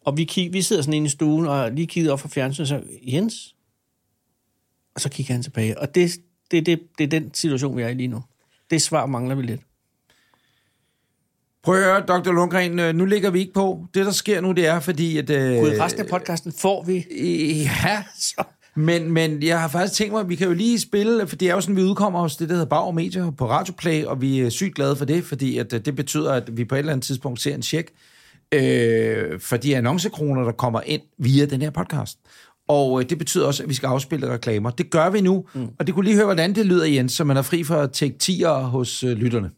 Og vi, kig, vi sidder sådan inde i stuen, og lige kigger op fra fjernsynet, og så, Jens? Og så kigger han tilbage. Og det, Det er, det, det er den situation, vi er i lige nu. Det svar mangler vi lidt. Prøv at høre, Dr. Lundgren, øh, nu ligger vi ikke på. Det, der sker nu, det er fordi, at... Øh, Gud, resten af podcasten får vi. øh, Ja, Så. men, men jeg har faktisk tænkt mig, at vi kan jo lige spille, for det er jo sådan, vi udkommer hos det, der hedder Bauer Media på Radioplay, og vi er sygt glade for det, fordi at, øh, det betyder, at vi på et eller andet tidspunkt ser en check øh, for de annoncekroner, der kommer ind via den her podcast. Og øh, det betyder også, at vi skal afspille reklamer. Det gør vi nu, mm. og det kunne lige høre, hvordan det lyder, Jens, så man er fri for at tække 10'er hos øh, lytterne.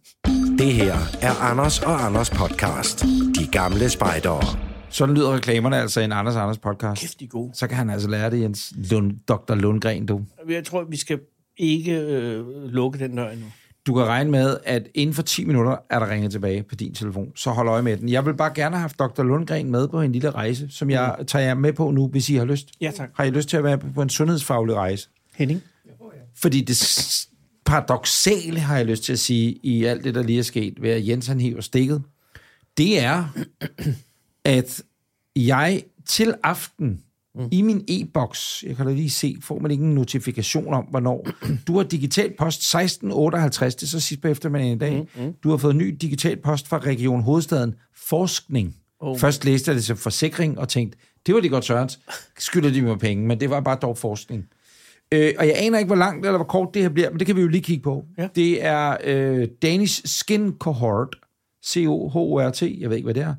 Det her er Anders og Anders podcast. De gamle spejdere. Sådan lyder reklamerne altså i en Anders Anders podcast. Kæft, de er gode. Så kan han altså lære det, Jens Lund, Dr. Lundgren, du. Jeg tror, vi skal ikke øh, lukke den dør endnu. Du kan regne med, at inden for 10 minutter er der ringet tilbage på din telefon. Så hold øje med den. Jeg vil bare gerne have haft Dr. Lundgren med på en lille rejse, som jeg tager jer med på nu, hvis I har lyst. Ja, tak. Har I lyst til at være på en sundhedsfaglig rejse? Henning? Fordi det s- paradoxale, har jeg lyst til at sige, i alt det, der lige er sket, ved at Jens han hiver stikket, det er, at jeg til aften mm. i min e-boks, jeg kan da lige se, får man ikke en notifikation om, hvornår. Du har digital post 1658, det er så sidst på eftermiddagen i dag. Mm. Du har fået ny digital post fra Region Hovedstaden. Forskning. Oh. Først læste jeg det som forsikring og tænkte, det var det godt sørens. Skylder de mig penge, men det var bare dog forskning. Øh, og jeg aner ikke, hvor langt eller hvor kort det her bliver, men det kan vi jo lige kigge på. Ja. Det er øh, Danish Skin Cohort, C-O-H-O-R-T, jeg ved ikke, hvad det er,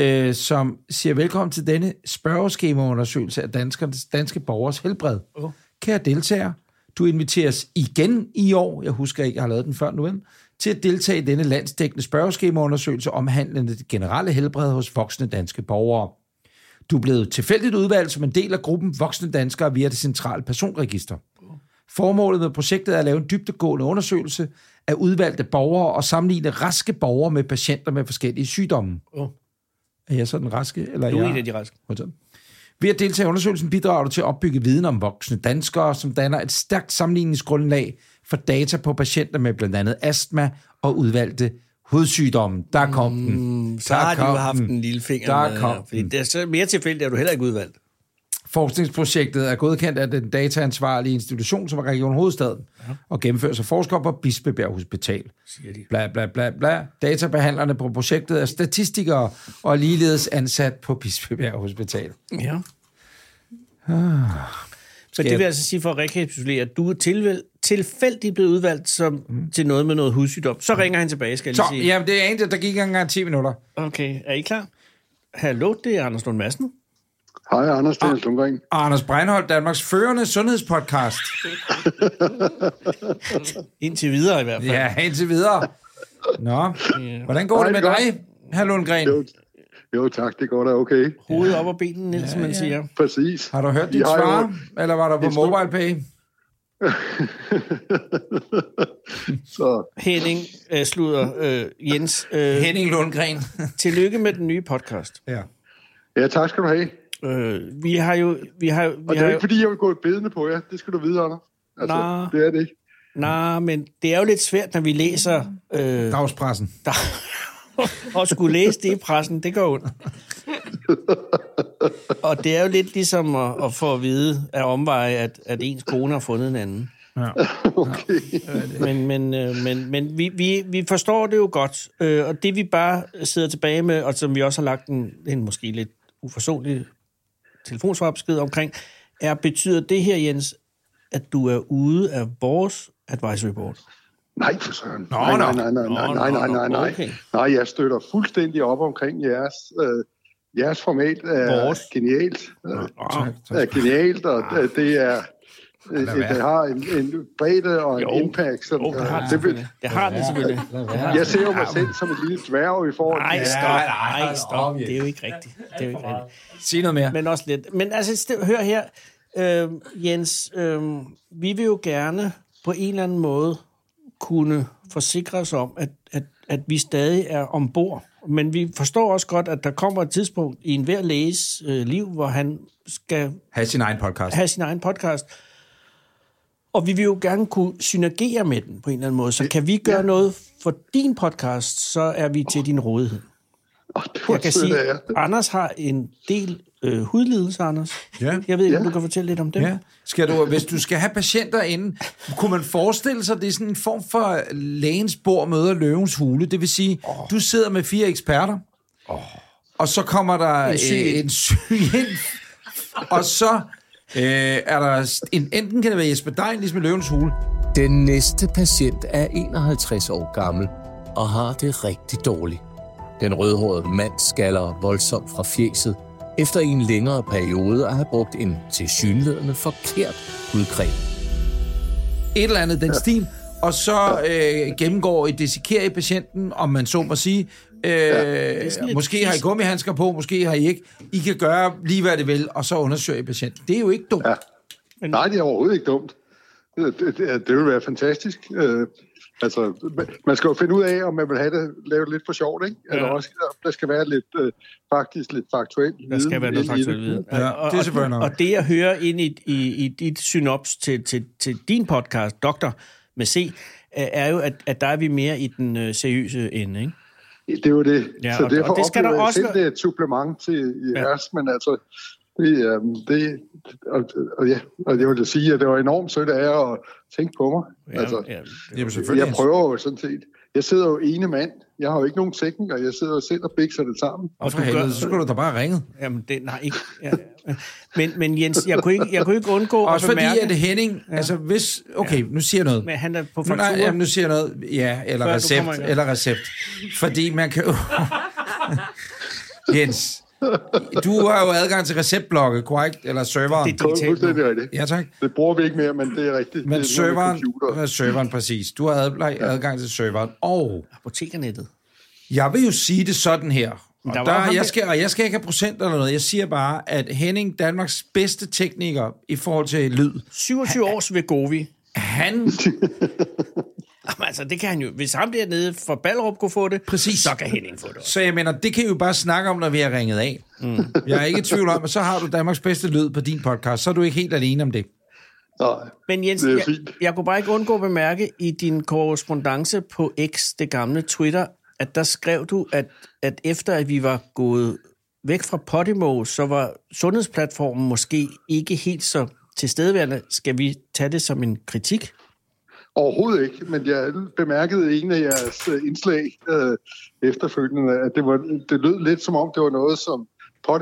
øh, som siger velkommen til denne spørgeskemaundersøgelse af danskernes, danske borgers helbred. Åh. Kære deltager, du inviteres igen i år, jeg husker ikke, jeg har lavet den før nu, vel, til at deltage i denne landsdækkende spørgeskemaundersøgelse omhandlende det generelle helbred hos voksne danske borgere. Du er blevet tilfældigt udvalgt som en del af gruppen voksne danskere via det centrale personregister. Formålet med projektet er at lave en dybtegående undersøgelse af udvalgte borgere og sammenligne raske borgere med patienter med forskellige sygdomme. Åh. Er jeg sådan raske? Eller Du er jeg... en af de raske. Modtaget. Ved at deltage i undersøgelsen bidrager du til at opbygge viden om voksne danskere, som danner et stærkt sammenligningsgrundlag for data på patienter med blandt andet astma og udvalgte hovedsygdomme. Der kom den. Mm, Så har de kom jo haft den. en lille finger Mm. Der med, kom her, fordi den. det er så mere tilfældigt, at du heller ikke udvalgt. Forskningsprojektet er godkendt af den dataansvarlige institution, som er Region Hovedstaden, ja. og gennemføres af forskere på Bispebjerg Hospital. Siger de. Bla, bla, bla, bla. Databehandlerne på projektet er statistikere og er ligeledes ansat på Bispebjerg Hospital. Ja. Ah. Så det vil altså sige for at rekapitulere, at du er tilvæl, tilfældigt blevet udvalgt som, mm. til noget med noget hudsygdom. Så ringer han tilbage, skal jeg Så, lige sige. ja, det er egentlig, der gik ikke engang 10 minutter. Okay, er I klar? Hallo, det er Anders Lund Madsen. Hej, Anders Ah. Dennis Lundgren. Og Anders Breinholt, Danmarks førende sundhedspodcast. Indtil videre i hvert fald. Ja, indtil videre. Nå, hvordan går det med dig, herr Lundgren? Jo, jo tak, det går da okay. Hovedet op og benene, Niels, ja, man siger. Præcis. Har du hørt I dit har jo- svar, eller var der på et stort- MobilePay? Så Henning øh, slutter øh, Jens. Øh, Henning Lundgren. tillykke med den nye podcast. ja. ja, tak skal du have. Øh, vi har jo... Vi har, vi Og det har er jo, ikke, fordi jeg vil gå et bedende på jer. Det skal du vide, Anders. Altså, Nå. det er det ikke. Nej, men det er jo lidt svært, når vi læser... Øh, Dagspressen. der, og skulle læse det i pressen, det gør ondt. Og det er jo lidt ligesom at, at få at vide af omveje, at, at ens kone har fundet en anden. Ja. Men, men, øh, men, men vi, vi, vi forstår det jo godt, øh, og det vi bare sidder tilbage med, og som vi også har lagt en, en måske lidt uforsonlig telefonsvarbesked omkring, er, betyder det her, Jens, at du er ude af vores advisory board? Nej, for søren. Nå, nej, nej, nå. Nå, nej, nej, nej, nej, nå, nå, nej, nej, nej. okay. Nej, jeg støtter fuldstændig op omkring jeres, øh, jeres format er Vores. genialt. Øh, Tak, tak. er genialt, og Ah. det- det er... Det, være. det har en, en bredde og en Jo. impact, som... Jo, det har det det, vil, selvfølgelig. Det har det selvfølgelig. Lad være. jeg ser jo mig selv som et lille dværg i forhold Nej, til... stop. nej, Nej, stop. stop, Det er jo ikke rigtigt. Det er jo ikke rigtigt. Sig noget mere. Men også lidt. Men altså, st- hør her, øh, Jens. Øh, vi vil jo gerne på en eller anden måde kunne forsikre os om, at, at, at vi stadig er ombord. Men vi forstår også godt, at der kommer et tidspunkt i enhver læges øh, liv, hvor han skal Ha' sin egen podcast. have sin egen podcast. Og vi vil jo gerne kunne synergere med den på en eller anden måde. Så kan vi gøre noget for din podcast, så er vi til din rådighed. Og det var Jeg kan sige, at Anders har en del øh, hudlidelser, Anders. Ja. Jeg ved ikke, om Ja. du kan fortælle lidt om det. Ja. Skal du, hvis du skal have patienter inden, kunne man forestille sig, at det er sådan en form for øh, lægens bord møder løvens hule. Det vil sige, oh. du sidder med fire eksperter, oh. og så kommer der en syg syg, ind. en syg ind, og så øh, er der en, enten kan det være Jesper Dein, ligesom i løvens hule, Den næste patient er 51 år gammel og har det rigtig dårligt. Den rødhårede mand skaller voldsomt fra fjeset, efter i en længere periode at have brugt en tilsyneladende forkert hudcreme. et eller andet i den stil, og så øh, gennemgår I, dissekerer I patienten, om man så må sige. Øh, lidt måske har I fisk. gummihandsker på, måske har I ikke. I kan gøre lige hvad det vil, og så undersøger I patienten. Det er jo ikke dumt. Ja. Nej, det er overhovedet ikke dumt. Det, det, det ville være fantastisk. Øh, altså, man- man skal jo finde ud af, om man vil have det lavet lidt for sjovt, ikke? Ja. Eller også, om der skal være lidt, øh, faktisk lidt faktuelt. Der skal være noget faktuelt viden. Ja, det er selvfølgelig nok. og, og det, jeg hører ind i, i, i dit synops til, til, til din podcast, Doktor med C, øh, er jo, at, at der er vi mere i den øh, seriøse ende, ikke? Det er jo det. Ja, Ja, så og- og derfor det skal der oplever jeg også selv, være- det er et supplement til Ja. jeres, ja. men altså, det, øh, det og, og, ja, og jeg vil da sige, at det var enormt sødt af jer at tænke på mig. Ja, altså, ja, Jamen selvfølgelig. jeg prøver jo sådan set. Jeg sidder jo ene mand. Jeg har jo ikke nogen tekniker. Jeg sidder jo selv og bikser det sammen. Og for du gør- helvede, så skulle du da bare ringe. Jamen, det, nej, ikke. Ja, ja. men, men Jens, jeg kunne ikke, jeg kunne ikke undgå Også at fordi, bemærke, at det Henning, ja. altså hvis... Okay, ja. nu siger jeg noget. men han er på Nu, nej, faktura. jamen, nu siger jeg noget. Ja, eller Før du recept. kommer i gang. Eller recept. Fordi man kan jo... Jens, du har jo adgang til receptblogge, korrekt? Eller serveren. Det er digitalt nu. Fuldstændig rigtigt. Ja, tak. Det bruger vi ikke mere, men det er rigtigt. Men det er noget med serveren, computer. ja, serveren, præcis. Du har adgang, adgang til serveren. Og Apotekernettet. jeg vil jo sige det sådan her. Og, der der var ham der, der- jeg skal, og jeg skal ikke have procent eller noget. Jeg siger bare, at Henning, Danmarks bedste tekniker i forhold til lyd, 27 års Vegovi. han Jamen, altså, det kan han jo. Hvis ham dernede fra Ballerup kunne få det, Præcis. så kan Henning få det også. Så jeg mener, det kan I jo bare snakke om, når vi har ringet af. Mm. Jeg er ikke i tvivl om, at så har du Danmarks bedste lyd på din podcast, så er du ikke helt alene om det. Nej. Men Jens, Det er jeg, fint. jeg kunne bare ikke undgå at bemærke i din korrespondence på X, det gamle Twitter, at der skrev du, at, at efter at vi var gået væk fra Podimo, så var sundhedsplatformen måske ikke helt så tilstedeværende. Skal vi tage det som en kritik? Overhovedet ikke, men jeg bemærkede i en af jeres øh, indslag øh, efterfølgende, at det, var, det lød lidt som om, det var noget, som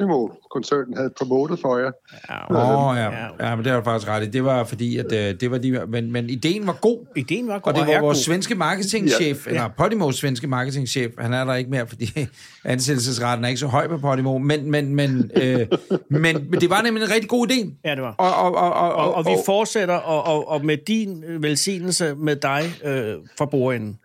Podimo-koncernen havde promotet for jer. Ja, Åh, oh, ja. ja. ja. men det har du faktisk ret i. Det var fordi, at øh, det var de... Men, men ideen var god. ideen var god. Og det er var vores god. svenske marketingchef, ja. eller Podimos svenske marketingchef, han er der ikke mere, fordi ansættelsesraten er ikke så høj på Podimo, men, men, men, øh, men, men det var nemlig en rigtig god idé. Ja, det var. Og, og, og, og, Og, og vi fortsætter, og, og, og med din øh, velsignelse med dig øh, fra bordenden.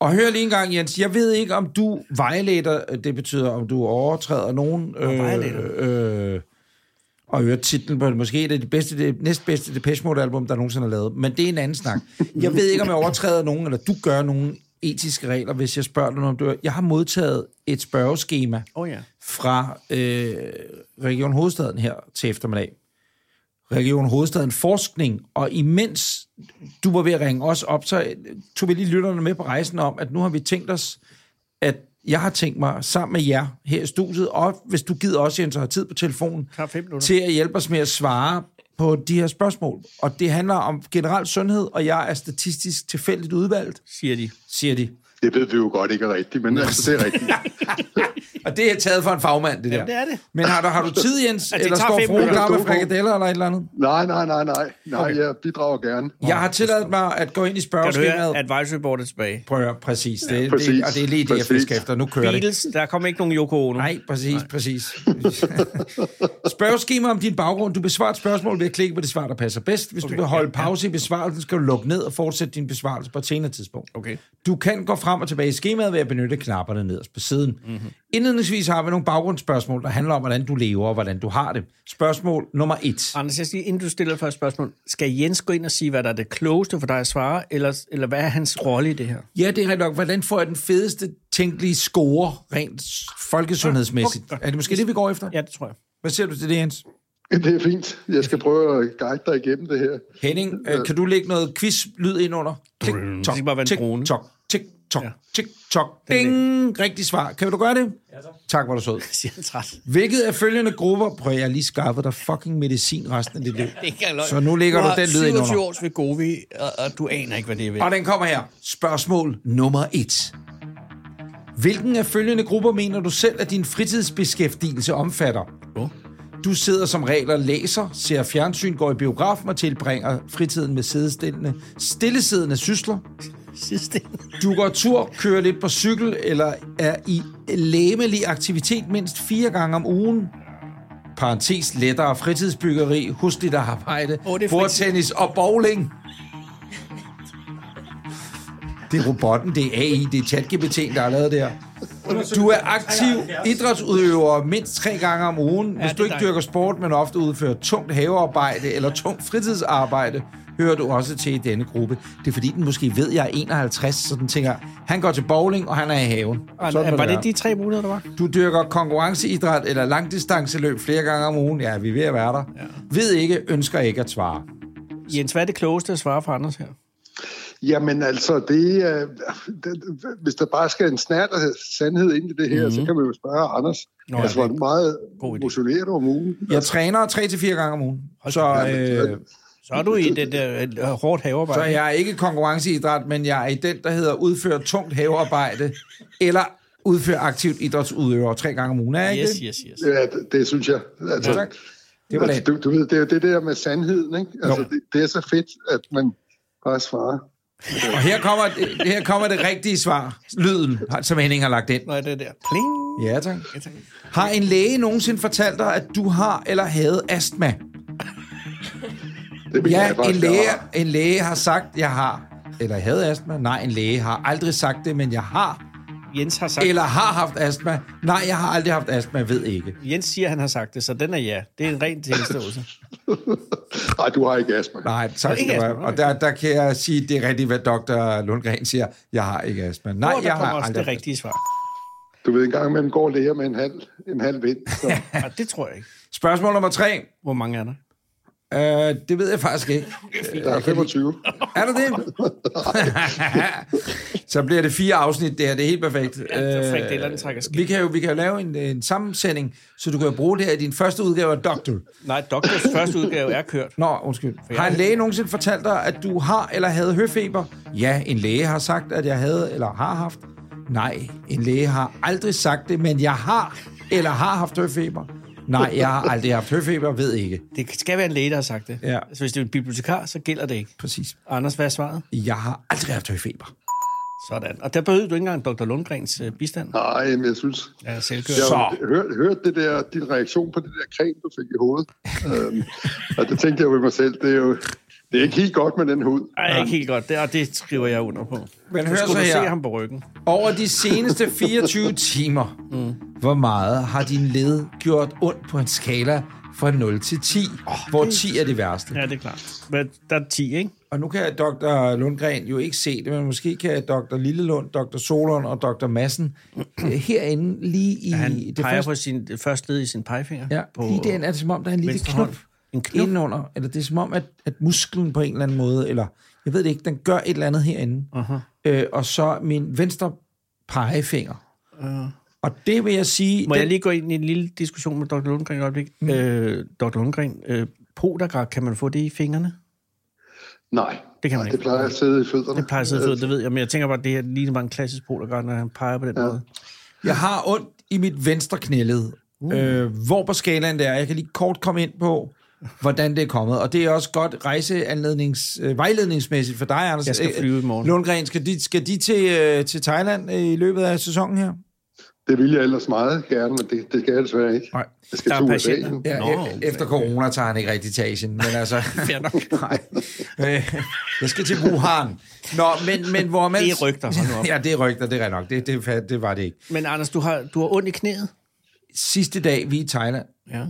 Og hør lige en gang, Jens. Jeg ved ikke, om du violater, det betyder, om du overtræder nogen... violator. Øh, øh, og hørte titlen på det. Måske et af de bedste, det næstbedste Depeche Mode-album, der nogensinde er lavet. Men det er en anden snak. Jeg ved ikke, om jeg overtræder nogen, eller du gør nogle etiske regler, hvis jeg spørger dig, om du... Jeg har modtaget et spørgeskema Åh oh, ja. fra øh, Region Hovedstaden her til eftermiddag. Region Hovedstaden Forskning, og imens du var ved at ringe os op, så øh, tog vi lige lytterne med på rejsen om, at nu har vi tænkt os, at jeg har tænkt mig sammen med jer her i studiet, og hvis du gider også, Jens, og har tid på telefonen, Tager fem minutter. til at hjælpe os med at svare på de her spørgsmål. Og det handler om generelt sundhed, og jeg er statistisk tilfældigt udvalgt, Siger de. siger de. Det ved vi jo godt ikke er rigtigt, men altså, det er rigtigt. Og det er taget for en fagmand, det der. Jamen, det er det. Men har du, har du tid, Jens? det eller Altså, tager står fem fruen minutter. klar med frikadeller eller et eller andet? Nej, nej, nej, nej. Nej, okay. jeg bidrager gerne. Jeg har tilladt mig at gå ind i Kan du spørgeskemaet. høre, at Vejlsøborg er tilbage? Prøv at høre, præcis. Det, ja, præcis. præcis. Det, og det er lige det, jeg Præcis. fisker efter. Nu kører det. Beatles, der kom ikke nogen Yoko Ono. Nej, præcis, Nej. præcis. Spørgeskema om din baggrund. Du besvarer et spørgsmål ved at klikke på det svar, der passer bedst. Hvis okay, du vil holde pause i besvarelsen, skal du lukke ned og fortsætte din besvarelse på et senere tidspunkt. Okay. Du kan gå frem og tilbage i skemaet ved at benytte knapperne nederst på siden. Mm-hmm. Indledningsvis har vi nogle baggrundsspørgsmål, der handler om, hvordan du lever og hvordan du har det. Spørgsmål nummer et. Anders, jeg siger, inden du stiller første spørgsmål, skal Jens gå ind og sige, hvad der er det klogeste for dig at svare, eller, eller hvad er hans rolle i det her? Ja, det er rigtigt nok. Hvordan får jeg den fedeste tænkelige score rent folkesundhedsmæssigt? Okay. Er det måske det, vi går efter? Ja, det tror jeg. Hvad siger du til det, Jens? Det er fint. Jeg skal prøve at guide dig igennem det her. øh, Henning, øh, kan du lægge noget quiz-lyd ind under? Klik, Det skal bare være en drone. tok, tik, tok, Ja. tik, tok, ding, rigtig svar. Kan du gøre det? Ja, tak. Tak, hvor du sød. siger han træt. Hvilket af følgende grupper, prøv jeg har lige skaffet dig fucking medicin resten af dit liv. Så nu ligger du den lyd ind Du har 27 under. års ved Govi, og, og, du aner ikke, hvad det er ved. Og den kommer her. Spørgsmål nummer et. Hvilken af følgende grupper mener du selv, at din fritidsbeskæftigelse omfatter? Åh. Du sidder som regel og læser, ser fjernsyn, går i biografen og tilbringer fritiden med sidestillende, stillesiddende sysler. Sidste. Du går tur, kører lidt på cykel eller er i læmelig aktivitet mindst fire gange om ugen. Parentes lettere fritidsbyggeri, husligt arbejde, Åh, oh, det er bordtennis og bowling. Det er robotten, det er AI, det er ChatGPT, der har lavet det her. Du er aktiv idrætsudøver mindst tre gange om ugen. Hvis det er du ikke dejligt. dyrker sport, men ofte udfører tungt havearbejde eller tungt fritidsarbejde, hører du også til i denne gruppe. Det er fordi, den måske ved, at jeg er 51, så den tænker, han går til bowling, og han er i haven. Sådan må Var det være. de tre muligheder, der var? Du dyrker konkurrenceidræt eller langdistanceløb flere gange om ugen. Ja, vi er ved at være der. Ja. Ved ikke, ønsker ikke at svare. Jens, hvad er det klogeste at svare for Anders her? Jamen altså, det, er- det, hvis der bare skal en snært af sandhed ind i det her, mm-hmm. Mhm. så kan man jo spørge Anders. Nå, ja, altså, hvor meget God idé. motionerer du om ugen? Altså, Jeg træner 3-4 gange om ugen, så, øh, Så er du i det der øh, hårdt havearbejde. så jeg er ikke konkurrenceidræt, men jeg er i den, der hedder udføre tungt havearbejde eller udføre aktivt idrætsudøver tre gange om ugen. Er jeg ikke Yes, det? yes, yes. Ja, det, det synes jeg. Altså, Tak. Det var altså, det. du, du ved, det er jo det der med sandheden, ikke? Altså, det, det er så fedt, at man bare svarer. Og her kommer, det- her kommer det rigtige svar. Lyden, som Henning har lagt ind. Nå, er det der. Pling. Ja, tak. Ja, tak. Har en læge nogensinde fortalt dig, at du har eller havde astma? Det mener Ja, jeg faktisk, en læge, jeg har. en læge har sagt, jeg har. Eller jeg havde astma. Nej, en læge har aldrig sagt det, men jeg har. Jens har sagt... Eller har haft astma. Nej, jeg har aldrig haft astma, ved ikke. Jens siger, at han har sagt det, så den er ja. Det er en ren tilståelse. Nej, du har ikke astma. Nej, tak ikke skal du have. astma, Og der, der kan jeg sige, det er rigtigt, hvad dr. Lundgren siger. Jeg har ikke astma. Nej, Og der jeg har kommer også aldrig det haft rigtige svar. Du ved, engang man går og læger med en halv, en halv vind. Så. Ja, det tror jeg ikke. astma. Spørgsmål nummer tre. Hvor mange er der? Øh, det ved jeg faktisk ikke. Der er 25. Er der det? så bliver det fire afsnit, det her. Det er helt perfekt. Ja, det er perfekt. Det er et eller andet, der trækker skævt. vi kan jo vi kan jo lave en, en sammensending, så du kan jo bruge det her i din første udgave af Doctor. Nej, Doktors første udgave er kørt. Nå, undskyld. Har en læge nogensinde fortalt dig, at du har eller havde høfeber? Ja, en læge har sagt, at jeg havde eller har haft. Nej, en læge har aldrig sagt det, men jeg har eller har haft høfeber. Nej, jeg har aldrig haft høfeber, ved ikke. Det skal være en læge, der har sagt det. Ja. Så hvis det er en bibliotekar, så gælder det ikke. Præcis. Anders, hvad er svaret? Jeg har aldrig haft høfeber. Sådan. Og der behøvede du ikke engang Dr. Lundgrens øh, bistand. Nej, men jeg synes... Ja, Jeg selvkørt. har hørt, hørt det der, din reaktion på det der creme, du fik i hovedet. øhm, og det tænkte jeg ved mig selv, det er jo... Det er ikke helt godt med den hud. Ej, ikke helt godt. Det, og det skriver jeg under på. Men Så hør så skulle du her. se ham på ryggen. Over de seneste 24 timer, mm. hvor meget har din led gjort ondt på en skala fra 0 til 10, oh, hvor 10 er det værste? Ja, det er klart. Hvad, der er 10, ikke? Og nu kan Dr. Lundgren jo ikke se det, men måske kan Dr. Lillelund, Dr. Solon og Dr. Massen øh, herinde lige i Han det det peger første... på sin øh, første led i sin pegefinger. Ja, på lige derinde er det som om, der er en lille venstre knop, hånd. En knop. indenunder. Eller det er som om, at, at musklen på en eller anden måde, eller jeg ved det ikke, den gør et eller andet herinde. Aha. Øh, og så min venstre pegefinger. Uh. Og det vil jeg sige... Øh. Må den- jeg lige gå ind i en lille diskussion med Dr. Lundgren i et øjeblik? Mm. Øh, Dr. Lundgren, øh, podagrad, kan man få det i fingrene? Nej, Det kan man Nej, ikke. det plejer at sidde i fødderne. Det plejer at sidde fed, det ved jeg, men jeg tænker bare, at det her ligner bare en klassisk polargrad, når han peger på den ja. måde. Jeg har ondt i mit venstre knæled. Uh. Øh, hvor på skalaen det er. Jeg kan lige kort komme ind på, hvordan det er kommet. Og det er også godt rejseanlednings, øh, vejledningsmæssigt for dig, Anders. Jeg skal Øh, flyve i morgen. Lundgren, skal de, skal de til, øh, til Thailand øh, i løbet af sæsonen her? Det ville jeg ellers meget gerne, men det, det skal jeg desværre ikke. Nej. Jeg skal Der er til USA. patienter. nu. Ja, Nå, altså, øh, Nå, e- efter corona tager han ikke rigtig til Asien, men altså... Fair nok. Nej. Øh, jeg skal til Wuhan. Nå, men, men hvor man... Det er rygter, hold nu op. Ja, det er rygter, det er rigtigt nok. Det, det, det var det ikke. Men Anders, du har, du har ondt i knæet. Sidste dag, vi er i Thailand. Ja. Og,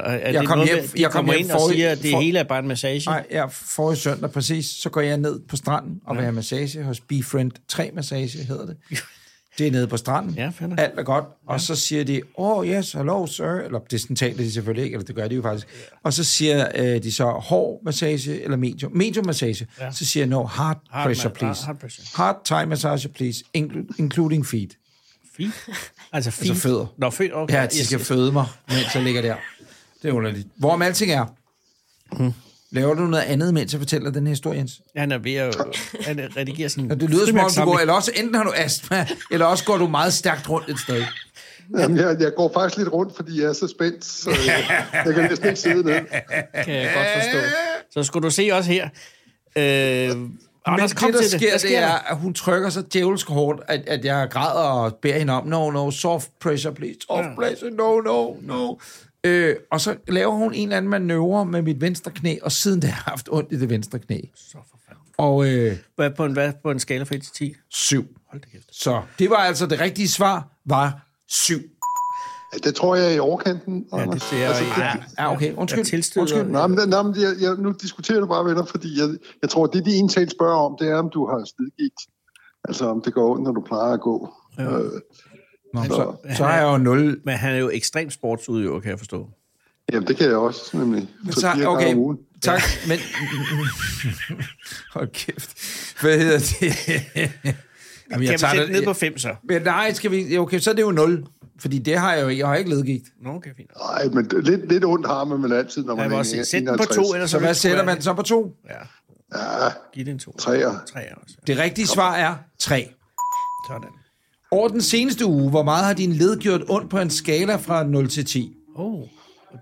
og, er kom jeg det noget, hjem- med, de jeg kom kommer hjem ind og forrige- siger, at det for- Ah, hele er bare en massage. Nej, ja, forrige søndag præcis, så går jeg ned på stranden og vil have massage hos Befriend 3 Massage, hedder det. Det er nede på stranden. Ja, fair nok. Alt er godt. Og så siger de, oh yes, hello sir. Eller det sådan taler de selvfølgelig ikke, eller det gør de jo faktisk. Og så siger øh, de så, hård massage eller medium? Medium massage. Ja. Så siger jeg, no, hard, hard pressure, ma- please. hard pressure. Hard thigh massage, please. Inclu- including feet. Fint. Altså fint. Altså fødder. Nå, fødder, okay. Ja, de skal føde mig, mens jeg ligger der. Det er underligt. Hvorom alting er, laver du noget andet, mens jeg fortæller den her historie, Jens? Han er ved at øh, han øh, redigere sin... Ja, det lyder som om, du går, frimærkssamling. eller også enten har du astma, eller også går du meget stærkt rundt et sted. Jamen, jeg, jeg går faktisk lidt rundt, fordi jeg er så spændt, så jeg, jeg kan næsten ikke sidde ned. kan jeg godt forstå. Så skulle du se også her. Øh, Anders, kom det, der til det. sker, Hvad det er, der? at hun trykker så djævelsk hårdt, at, at jeg græder og beder hende om, no, no, soft pressure, please, soft pressure, no, no, no. Øh, og så laver hun en eller anden manøvre med mit venstre knæ, og siden da har jeg haft ondt i det venstre knæ. Og øh, Hvad på en, hvad, på en skala fra 1 til 10? syv. Hold da kæft. Så det var altså det rigtige svar, var syv. Ja, det tror jeg er i overkanten, Ja, det Anders. Altså, ser jeg. Ja, Ja, okay, jeg undskyld. tilstøder. undskyld. Nå, men, nå, men jeg, jeg, nu diskuterer du bare venner, fordi jeg, jeg tror, det de egentlig spørger om, det er, om du har slidgigt. Altså, om det går ondt, når du plejer at gå. Ja. Øh, Nå, så, så har jeg jo nul. Men han er jo ekstrem sportsudøver, kan jeg forstå. jamen, det kan jeg også, nemlig. Så, Så fire gange okay, om ugen. tak, men... Hold kæft. Hvad hedder det? Jamen, Jeg kan vi sætte det- ned på 5 så? Men nej, skal vi... ja, Okay, så er det jo 0. Fordi det har jeg jo ikke. Jeg har ikke ledgigt. Nå, okay, fint. Nej, men det- lidt, lidt ondt har man vel altid, når Jeg man vil er også sige, sæt den på 51. 2, ellers Så er hvad det- sætter man så på 2? Ja, Ja, giv den 2. Treer. 3 også. ja. Det rigtige svar er 3. Sådan. Over den seneste uge, hvor meget har din led gjort ondt på en skala fra 0 til 10? Oh.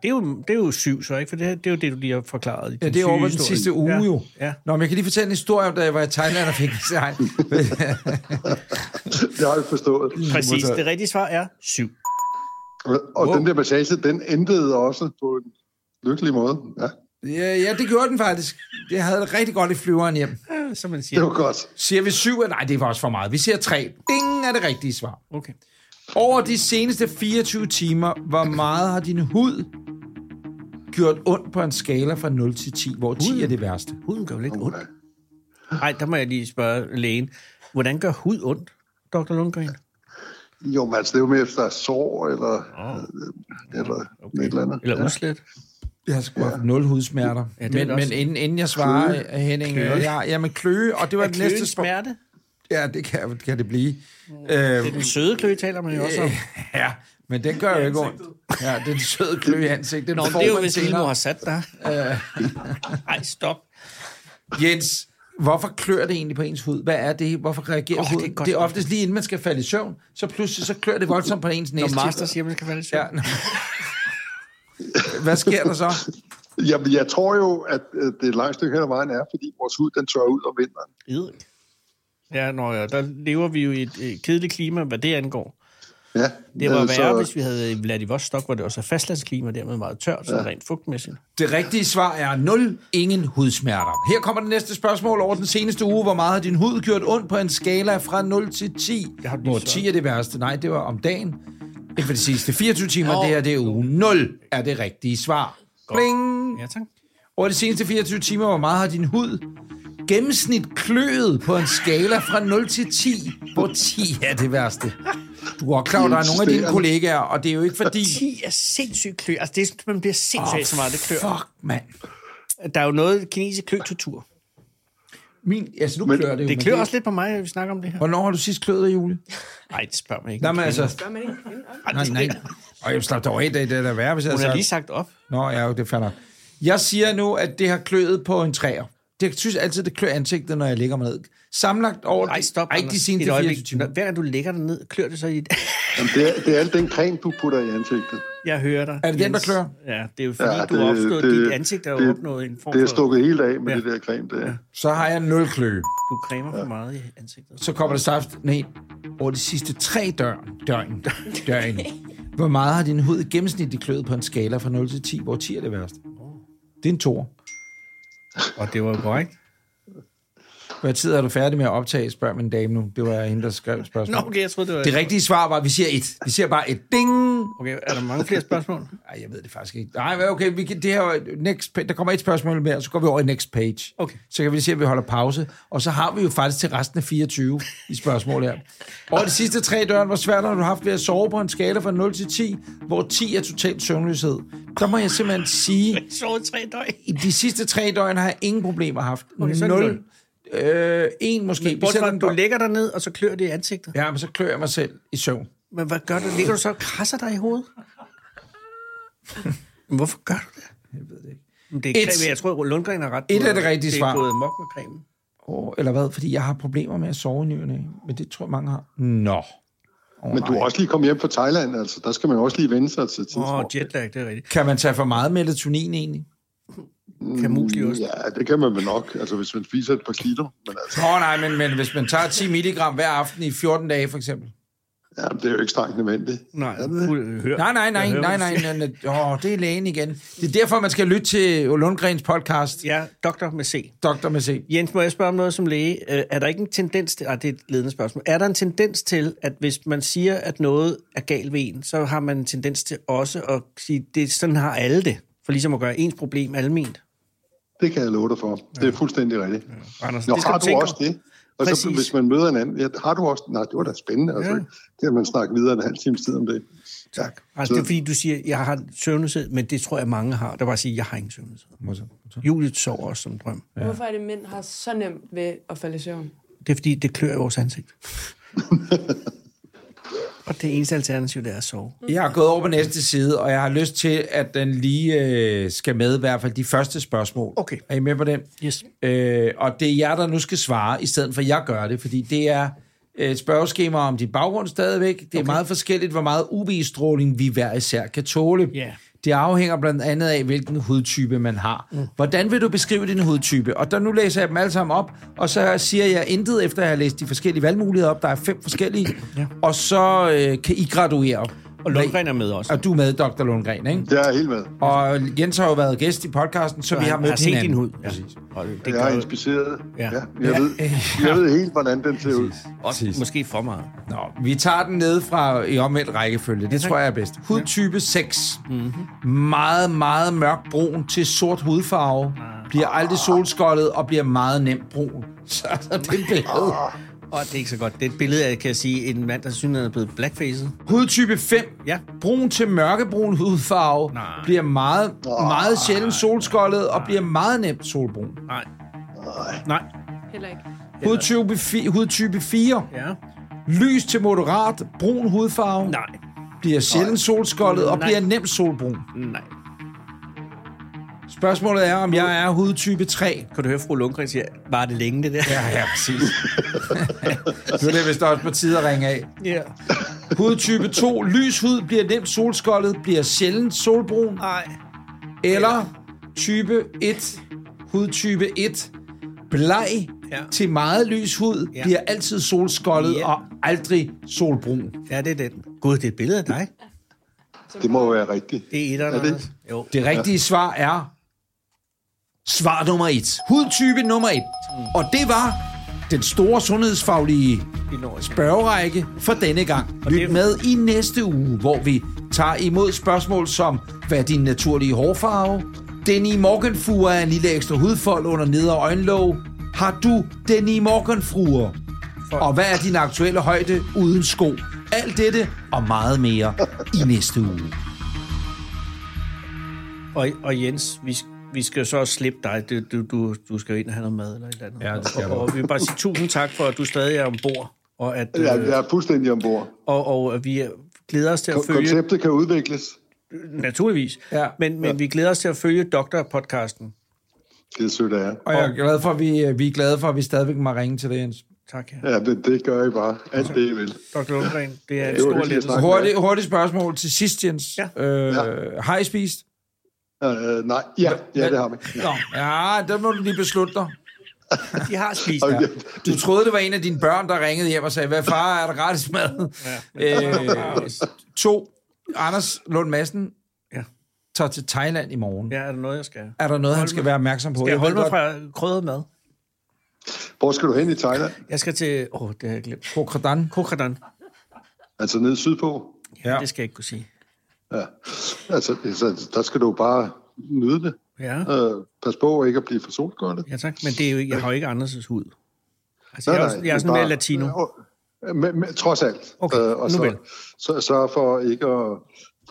Det er, jo, det er jo syv, så ikke? For det, her- det er jo det, du lige har forklaret. i Ja, din det er over den sygehistorie. sidste uge ja. jo. Ja. Nå, men jeg kan lige fortælle en historie om, da jeg var i Thailand og fik en sej. det har jeg forstået. Præcis. Altså- Det rigtige svar er syv. Og den der massage, den endte også på en lykkelig måde. Ja, Ja, ja, det gjorde den faktisk. Jeg havde det rigtig godt i flyveren hjem. Ja, Som man det siger. var godt. Siger vi 7? Nej, det var også for meget. Vi siger 3. Ding er det rigtige svar. Okay. Over de seneste 24 timer, hvor meget har din hud gjort ondt på en skala fra 0 til 10, hvor 10 er det værste? Huden gør jo lidt ondt. Nej, der må jeg lige spørge lægen. Hvordan gør hud ondt, Dr. Lundgren? Jo, men altså, det er jo med efter der er sår, eller, oh. eller okay. et eller andet. Eller udslet? Jeg har sgu haft 0 hudsmerter. Ja, men, det er det men også. inden, inden jeg svarer, kløe. Henning, kløe. Ja, ja, men kløe, og det var det Kløen næste spørgsmål. smerte? Ja, det kan, kan det blive. Øh, Den søde klø taler man jo også om. ja, men den gør jo ikke ondt. Ja, det er en sød kløe i ansigtet. Den Nå, men får det er jo, man hvis Ilmo senere. har sat dig. Nej, stop. Jens, hvorfor klør det egentlig på ens hud? Hvad er det? Hvorfor reagerer Åh, oh, det er huden? Det er, godt det er spørgsmål. oftest lige inden man skal falde i søvn, så pludselig så klør det voldsomt på ens næse. Når Master siger, man skal falde i søvn. Ja. nå. Hvad sker der så? Jamen, jeg tror jo, at øh, det er et langt stykke hen ad vejen er, fordi vores hud, den tørrer ud om vinteren. Edel. Ja, nå ja, der lever vi jo i et øh, kedeligt klima, hvad det angår. Ja. Det var øh, værre, hvis vi havde i Vladivostok, hvor det også er fastlandsklima, dermed meget tørt, så rent fugtmæssigt. Det rigtige svar er 0. Ingen hudsmerter. Her kommer det næste spørgsmål. Over den seneste uge, hvor meget har din hud gjort ondt på en skala fra 0 til 10? Jeg har lige Hvor svaret. 10 er det værste? Nej, det var om dagen. Inden for de sidste 24 timer, det her det er uge 0, er det rigtige svar. Bling! Ja, tak. Over de seneste 24 timer, hvor meget har din hud gennemsnit kløet på en skala fra 0 til 10, hvor 10 er det værste? Du er klar, over, der er nogle af dine kollegaer, og det er jo ikke fordi... 10 er sindssygt klø. Altså, det er, man bliver sindssygt oh, så meget, det klør. Fuck, mand. Der er jo noget kinesisk klø-tortur. Min, altså nu Men klør det jo. Det men klør også lidt på mig, at vi snakker om det her. Hvornår har du sidst kløet dig, Julie? Nej, det spørger man ikke. Nej, men altså... Gør man ikke en om? Nej, nej. Og jeg slap dig af, det er da værre, hvis jeg Hun havde har sagt- lige sagt op. Nå, ja, jo, det fandt Jeg siger nu, at det har kløet på en træer. Det, jeg synes altid, det klør ansigtet, når jeg ligger mig ned. Samlet over... Nej, stop. Ej, Anders. de Et seneste øjeblik. 24 timer. Hver gang du lægger dig ned, klør det så i... Jamen, det, er, det er alt den creme, du putter i ansigtet. Jeg hører dig. Er det den, der Jens. klør? Ja, det er jo fordi, ja, Ja, du har det- opstået... det- Dit ansigt er jo det- opnået en form Det er for... stukket helt af med Ja. ja. det der creme der. Ja. Så har jeg nul klø. Du cremer for meget i ansigtet. Så kommer der saft ned over de sidste tre døgn. Døgn. Døgn. Hvor meget har din hud gennemsnitligt kløet på en skala fra 0 til 10, hvor 10 er det værste? Det er en toer. Og det var jo korrekt. Hvad tid er du færdig med at optage, spørger min dame nu. Det var hende, der skrev Nå, spørgsmålet. okay, jeg troede, det var... Det rigtige svar var, at vi siger et. Vi siger bare et ding. Okay, er der mange flere spørgsmål? Nej, jeg ved det faktisk ikke. Nej, men okay, vi kan, det her, var- next page, der kommer et spørgsmål mere, og så går vi over i next page. Okay. Så kan vi se, at vi holder pause. Og så har vi jo faktisk til resten af 24 i spørgsmål her. Og de sidste tre døren, hvor svært har du haft ved at sove på en skala fra 0 til 10, hvor 10 er total søvnløshed. Der må jeg simpelthen sige, Sovet tre døgn. i de sidste tre døgn har jeg ingen problemer haft. Okay, så er det Nul. Øh, en måske. Men bortset Selvom fra, at du der- lægger dig ned, og så klør det i ansigtet. Ja, men så klør jeg mig selv i søvn. Men hvad gør du? Ligger du så og krasser dig i hovedet? Men Hvorfor gør du det? Jeg ved det ikke. Det er Et- creme. Jeg tror, at Lundgren har ret. Et Du- er det rigtige svar. Det er gået mok med cremen. Åh, eller hvad? Fordi jeg har problemer med at sove i ny og næ. Men det tror jeg, mange har. Nå. Oh, Men du er også lige kommet hjem fra Thailand, altså. Der skal man jo også lige vende sig til Åh, oh, tidspunkt. jetlag, det er rigtigt. Kan man tage for meget melatonin egentlig? Kamusli også. Ja, det kan man vel nok, altså hvis man spiser et par kilo. Men altså, Åh oh, nej, men, men hvis man tager 10 milligram hver aften i 14 dage for eksempel. ja, det er jo ikke strengt nødvendigt. Nej, Er det det? fuld- hør. Nej, nej, nej, nej, nej, nej, nej. Åh, oh, det er lægen igen. Det er derfor, man skal lytte til Lundgrens podcast, Ja, doktor med C. Doktor med C. Jens, må jeg spørge om noget som læge? Øh, Er der ikke en tendens til, ah, det er et ledende spørgsmål, er der en tendens til, at hvis man siger, at noget er galt ved en, så har man en tendens til også at sige, det sådan har alle det, for ligesom at gøre ens problem alment? Det kan jeg love dig for. Det er fuldstændig rigtigt. Andersen, Nå, det skal har du du tænke også over. det? Og så, Præcis. hvis man møder en anden, ja, har du også... Nej, det var da spændende. Altså, Ja. ja. Det kan man snakke videre en halv times tid om det. Tak. Altså, det er fordi, du siger, jeg har søvnløshed, men det tror jeg, mange har. Der var at sige, jeg har ingen søvnløshed. Julie sover også som drøm. Ja. Hvorfor er det, mænd har så nemt ved at falde i søvn? Det er fordi, det klør i vores ansigt. og det eneste alternativ, det er at sove. Jeg har gået over på næste side, og jeg har lyst til, at den lige øh, skal med, i hvert fald de første spørgsmål. Okay. Er I med på den? Yes. Øh, og det er jer, der nu skal svare, i stedet for at jeg gør det, fordi det er øh, spørgeskemaer om din baggrund stadigvæk. Det er okay. meget forskelligt, hvor meget UV-stråling vi hver især kan tåle. Ja. Det afhænger blandt andet af, hvilken hudtype man har. Mm. Hvordan vil du beskrive din hudtype? Og der nu læser jeg dem alle sammen op, og så siger jeg intet, efter at jeg har læst de forskellige valgmuligheder op. Der er fem forskellige. Ja. Og så øh, kan I graduere. Og Lundgren er med også. Og du er med, Dr. Lundgren, ikke? Jeg er helt med. Og Jens har jo været gæst i podcasten, så, så vi har han mødt har set hinanden. din hud. Ja. Præcis. Og det Jeg er gør inspireret. Ja. Ja. ja jeg, ved, jeg ved helt, hvordan den ser ud. også måske for meget. Nå, vi tager den ned fra i omvendt rækkefølge. Det tror jeg er bedst. Hudtype 6. Mm-hmm. Meget, meget mørk brun til sort hudfarve. Bliver aldrig solskoldet og bliver meget nemt brun. Så er det billede. Og det er ikke så godt. Det er et billede af, kan jeg sige, en mand, der synes, han er blevet blackfaced. Hudtype 5. Ja. Brun til mørkebrun hudfarve. Nej. Bliver meget, meget sjældent solskoldet og bliver meget nemt solbrun. Nej. Nej. Heller ikke. Hudtype, fi- hudtype 4. Ja. Lys til moderat brun hudfarve. Nej. Bliver sjældent solskoldet og Nej. bliver nemt solbrun. Nej. Spørgsmålet er, om jeg er hudtype 3. Kan du høre, fru Lundgren siger, var det længe det der? Ja, ja, præcis. nu er det vist også på tide at ringe af. ja. Hudtype 2. Lys hud bliver nemt solskoldet, bliver sjældent solbrun. Nej. Eller type 1. Hudtype 1. Bleg Ja. til meget lys hud, Ja. bliver altid solskoldet Ja. og aldrig solbrun. Ja, det er den. Gud, det er et billede af dig. Det må jo være rigtigt. Det er etteren, Er det Anders. Jo. Det rigtige svar er svar nummer 1. Hudtype nummer 1. Og det var den store sundhedsfaglige spørgerække for denne gang. Lyt det- med i næste uge, hvor vi tager imod spørgsmål som, hvad er din naturlige hårfarve? Den i morgenfruer er en lille ekstra hudfold under neder og øjenlåg. Har du den i morgenfruer? Og hvad er din aktuelle højde uden sko? Alt dette og meget mere i næste uge. Og, og Jens, vi, sk- vi skal jo så også slippe dig. Du, du, du, du skal jo ind og have noget mad eller et eller andet. Ja, det skal jeg og, og vi vil bare sige tusind tak for, at du stadig er ombord. Og, at, Jeg, øh, jeg er fuldstændig ombord. og, og at vi glæder os til at Kon- følge... Konceptet kan udvikles. Naturligvis. Ja. Men, men vi glæder os til at følge Doktor-podcasten. Det er sødt af jer. Og jeg er glad for, at vi, øh, vi er glade for, at vi stadigvæk må ringe til det, Jens. Tak, ja. Ja, det, det gør I bare. Alt det, I vil. Dr. Lundgren, det er en Det var stor hyggeligt at lettelse. snakke med jer. Hurtigt, hurtigt spørgsmål til sidst, Jens. Ja. Øh, Ja. Har I spist? Øh, nej, ja, ja, det har vi. Nå, ja, der må du lige beslutte dig. De har spist. Og Ja. jeg- Du troede, det var en af dine børn, der ringede hjem og sagde, hvad far, er der gratis mad? Ja. Øh, to, Anders Lund Madsen Ja. tager til Thailand i morgen. Ja. ja, er der noget, jeg skal... Er der noget, han skal være opmærksom på? Skal jeg ved holde mig godt- fra krydret mad? Hvor skal du hen i Thailand? Jeg skal til... Åh, oh, det har jeg glemt. Krokradan. Kokkadan. Altså ned sydpå? Ja. Det skal jeg ikke kunne sige. Ja. Altså, altså, der skal du bare nyde det. Ja, Øh, pas på ikke at blive for solgående. ja tak. Men det er jo, ikke- jeg har jo ikke Anders' hud. Altså, Nej, jeg, er, nej, også- jeg er men sådan mere bare- latino. Øh, Men, men, trods alt. Øh, Okay, og nu så, vel. så sørg for ikke at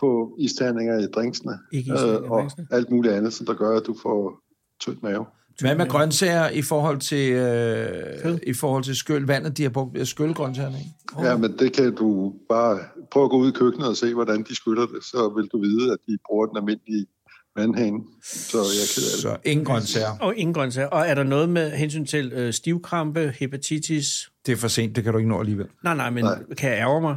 få isterninger i drinksene. øh, Ikke isterninger i og drinksene. alt muligt andet, som der gør, at du får tynd mave. Hvad med grøntsager i forhold til, øh, i forhold til skyl? Vandet, de har brugt øh, skylgrøntsagerne, ikke? Oh. Ja, men det kan du bare... Prøv at gå ud i køkkenet og se, hvordan de skyller det. Så vil du vide, at de bruger den almindelige vandhane. Så jeg er ked af det. Så ingen grøntsager. Og ingen grøntsager. Og er der noget med hensyn til øh, stivkrampe, hepatitis? Det er for sent, det kan du ikke nå alligevel. Nej, nej, men Nej. nej. kan jeg ærge mig?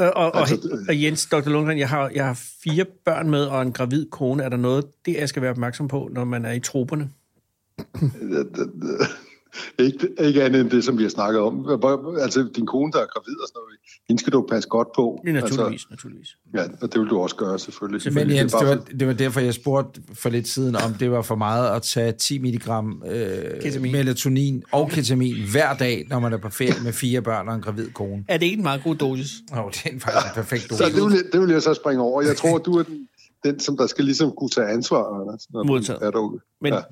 Øh, og, og, Altså, det- og Jens, Dr. Lundgren, jeg har, jeg har fire børn med og en gravid kone. Er der noget, det jeg skal være opmærksom på, når man er i troberne? ikke, ikke andet end det, som vi har snakket om. Hvor- Altså, din kone, der er gravid og sådan noget, hende skal du passe godt på. Ja, naturligvis, altså, naturligvis. Altså, ja, og det vil du også gøre, selvfølgelig. Men Det er Jens, bare det var, for- det var derfor, jeg spurgte for lidt siden, om det var for meget at tage 10 milligram øh, Ketamin. melatonin og ketamin hver dag, når man er på ferie med fire børn og en gravid kone. Er det ikke en meget god dosis? Åh, det er faktisk en perfekt Så det dose. vil, jeg- det vil jeg så springe over. Jeg tror, du er den, den som der skal ligesom kunne tage ansvar, Anders. når du Modtaget. Er derude. Men, Ja. ja.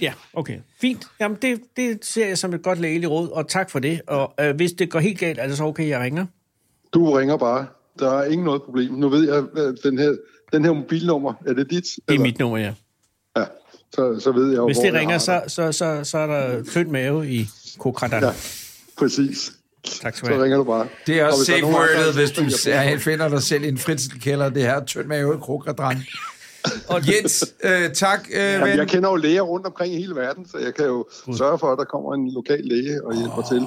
ja, okay. Fint. Jamen, det, det ser jeg som et godt lægeligt råd, og tak for det. Og øh, hvis det går helt galt, er det så okay, jeg ringer? Du ringer bare. Der er ingen noget problem. Nu ved jeg, hvad den her, den her mobilnummer, er det dit? Det er eller? mit nummer, ja. Ja, så, så ved jeg jo, Hvis hvor det jeg ringer, har så, så, så, så er der tynd mave i kokradan. Ja, Ja. præcis. Tak skal du Så have. ringer du bare. Det er Og også hvis der safe nogen andre, wordet, der hvis du tænker ser- på- finder dig selv i en fritselkælder. Det her tynd mave i krogradran. Og Jens, øh, tak, øh, Jamen, ven. jeg kender jo læger rundt omkring i hele verden, så jeg kan jo sørge for, at der kommer en lokal læge og hjælper til.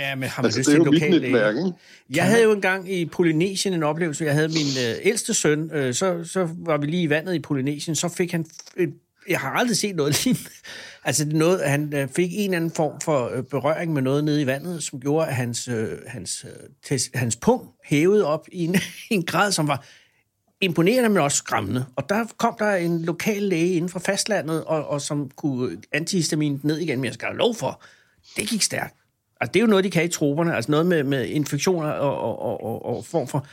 Ja, men har man Altså, lyst det er til jo en mit lokal netværk, læge? ikke? Jeg havde jo engang i Polynesien en oplevelse. Jeg havde min øh, ældste søn, øh, så, så var vi lige i vandet i Polynesien, så fik han... Øh, jeg har aldrig set noget lignende. Altså, det er noget, han øh, fik en eller anden form for øh, berøring med noget nede i vandet, som gjorde, at hans, øh, hans, øh, tes, hans pung hævede op i en, en grad, som var imponerende, men også skræmmende. Og der kom der en lokal læge inden fra fastlandet, og, og som kunne antihistamin ned igen, men jeg skal have lov for, det gik stærkt. Altså, det er jo noget, de kan i troberne, altså noget med, med infektioner og, og, og, og, og form for,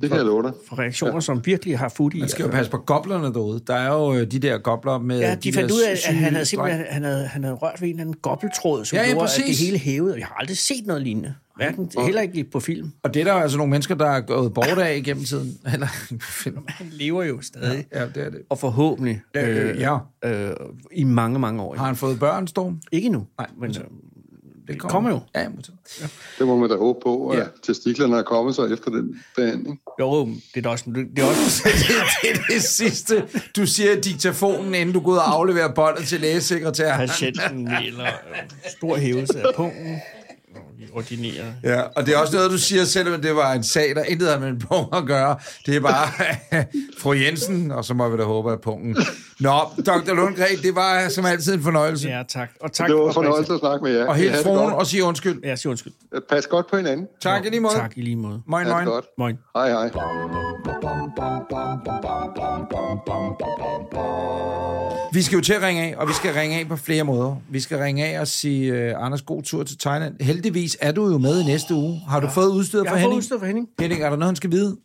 Det kan jeg love dig. for reaktioner, ja. som virkelig har fod i. Man skal jo passe på goblerne derude. Der er jo øh, de der gobler med... Ja, de fandt der ud af, at syge han havde, drenge. simpelthen, han havde, han havde rørt ved en eller anden gobbeltråd, som Ja, ja, gjorde, at det præcis. hele hævede. Jeg har aldrig set noget lignende. Hverken, heller ikke på film. Og det er der jo altså nogle mennesker, der er gået bort af igennem tiden. Eller, film. Han lever jo stadig. Ja, det er det. Og forhåbentlig Øh, øh, ja. øh, i mange, mange år. Har han fået børn, Storm? Ikke nu, Nej, men øh, det kommer jo. Ja, må tage. Det må man da håbe på, at Ja. testiklerne er kommet sig efter den behandling. Jo, det er da også... Det er også det er det sidste, du siger i diktafonen, inden du går ud og afleverer båndet til lægesekretæren. patienten eller stor hævelse af pungen. Ordinere. Ja, og det er også noget, du siger, selvom det var en sag, der intet havde med en pung at gøre. Det er bare fru Jensen, og så må vi da håbe, at pungen... Nå, Dr. Lundgren, det var som altid en fornøjelse. Ja, tak. Og tak. Det var en og Christian. fornøjelse at snakke med jer. Og helt Ha' det fruen godt. og sige undskyld. Ja, sig undskyld. Pas godt på hinanden. Tak i lige måde. Tak i lige måde. Moin, Ha' det moin. godt. Moin. Hej, hej. Vi skal jo til at ringe af, og vi skal ringe af på flere måder. Vi skal ringe af og sige, uh, Anders, god tur til Thailand. Heldigvis er du jo med i næste uge. Har du fået udstyret Jeg fra har fået Henning? udstyr for Henning. Henning, er der noget, han skal vide?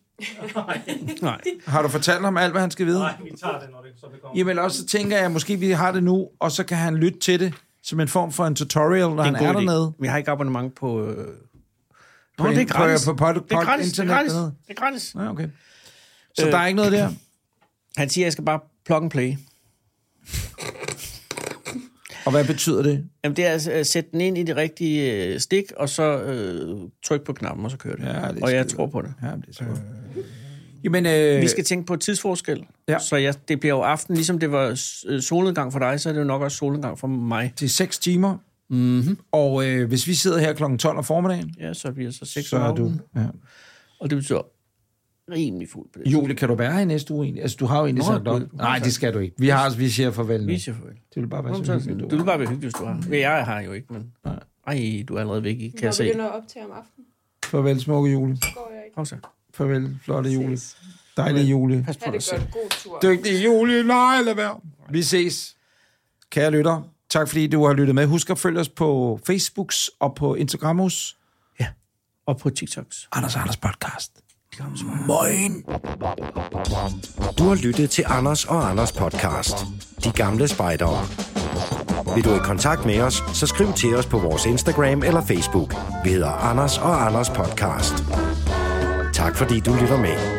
Nej. Har du fortalt ham alt, hvad han skal vide? Nej, vi tager det, når det så det kommer. Jamen, også så tænker jeg, at måske vi har det nu, og så kan han lytte til det som en form for en tutorial, når Det han er en er god idé. dernede. Vi har ikke abonnement på... Øh... Nå, På- det er på- gratis. på pod- det er pod- gratis. Det er internet gratis. Øh. dernede. Det er gratis. Nej, okay. Så der er ikke noget der? Han siger, at jeg skal bare plug and play. Og hvad betyder det? Jamen, det er altså at sætte den ind i det rigtige øh, stik, og så øh, tryk på knappen, og så kører det. Ja, det er og jeg skide tror på det. Ja, det er så godt. Jamen, øh, Vi skal tænke på tidsforskel. Ja. Ja. Så jeg, det bliver jo aften. Ligesom det var øh, solnedgang for dig, så er det jo nok også solnedgang for mig. til 6 timer, mm-hmm. og øh, hvis vi sidder her kl. 12 om formiddagen, Ja, så altså bliver så 6 så er du... Ja. Og det betyder rimelig fuld på det. Julie, kan du være her i næste uge egentlig? Altså, du har jo egentlig Nå, sagt du- op. Nej, det skal du ikke. Vi har vi siger farvel nu. Vi Det siger farvel. vil bare være så hyggeligt. Du vil bare være hyggelig, hvis du har. Men jeg har jo ikke, men... Ej, du er allerede væk, i, kan jeg Jeg se. begynder at optage om aftenen. Farvel, smukke Julie. Går jeg ikke. Kom så. Farvel, flotte Julie. Ses. Dejlige Julie. Pas Ha' på dig det selv. godt. God tur. Dygtige Julie. Nej, lad være. Vi ses. kære lytter, tak fordi du har lyttet med. Husk at følge os på Facebooks og på Instagramos. Og på TikToks. Anders og Anders Podcast. Du har lyttet til Anders og Anders podcast. De gamle spejdere. Vil du i kontakt med os, så skriv til os på vores Instagram eller Facebook. Vi hedder Anders og Anders podcast. Tak fordi du lytter med.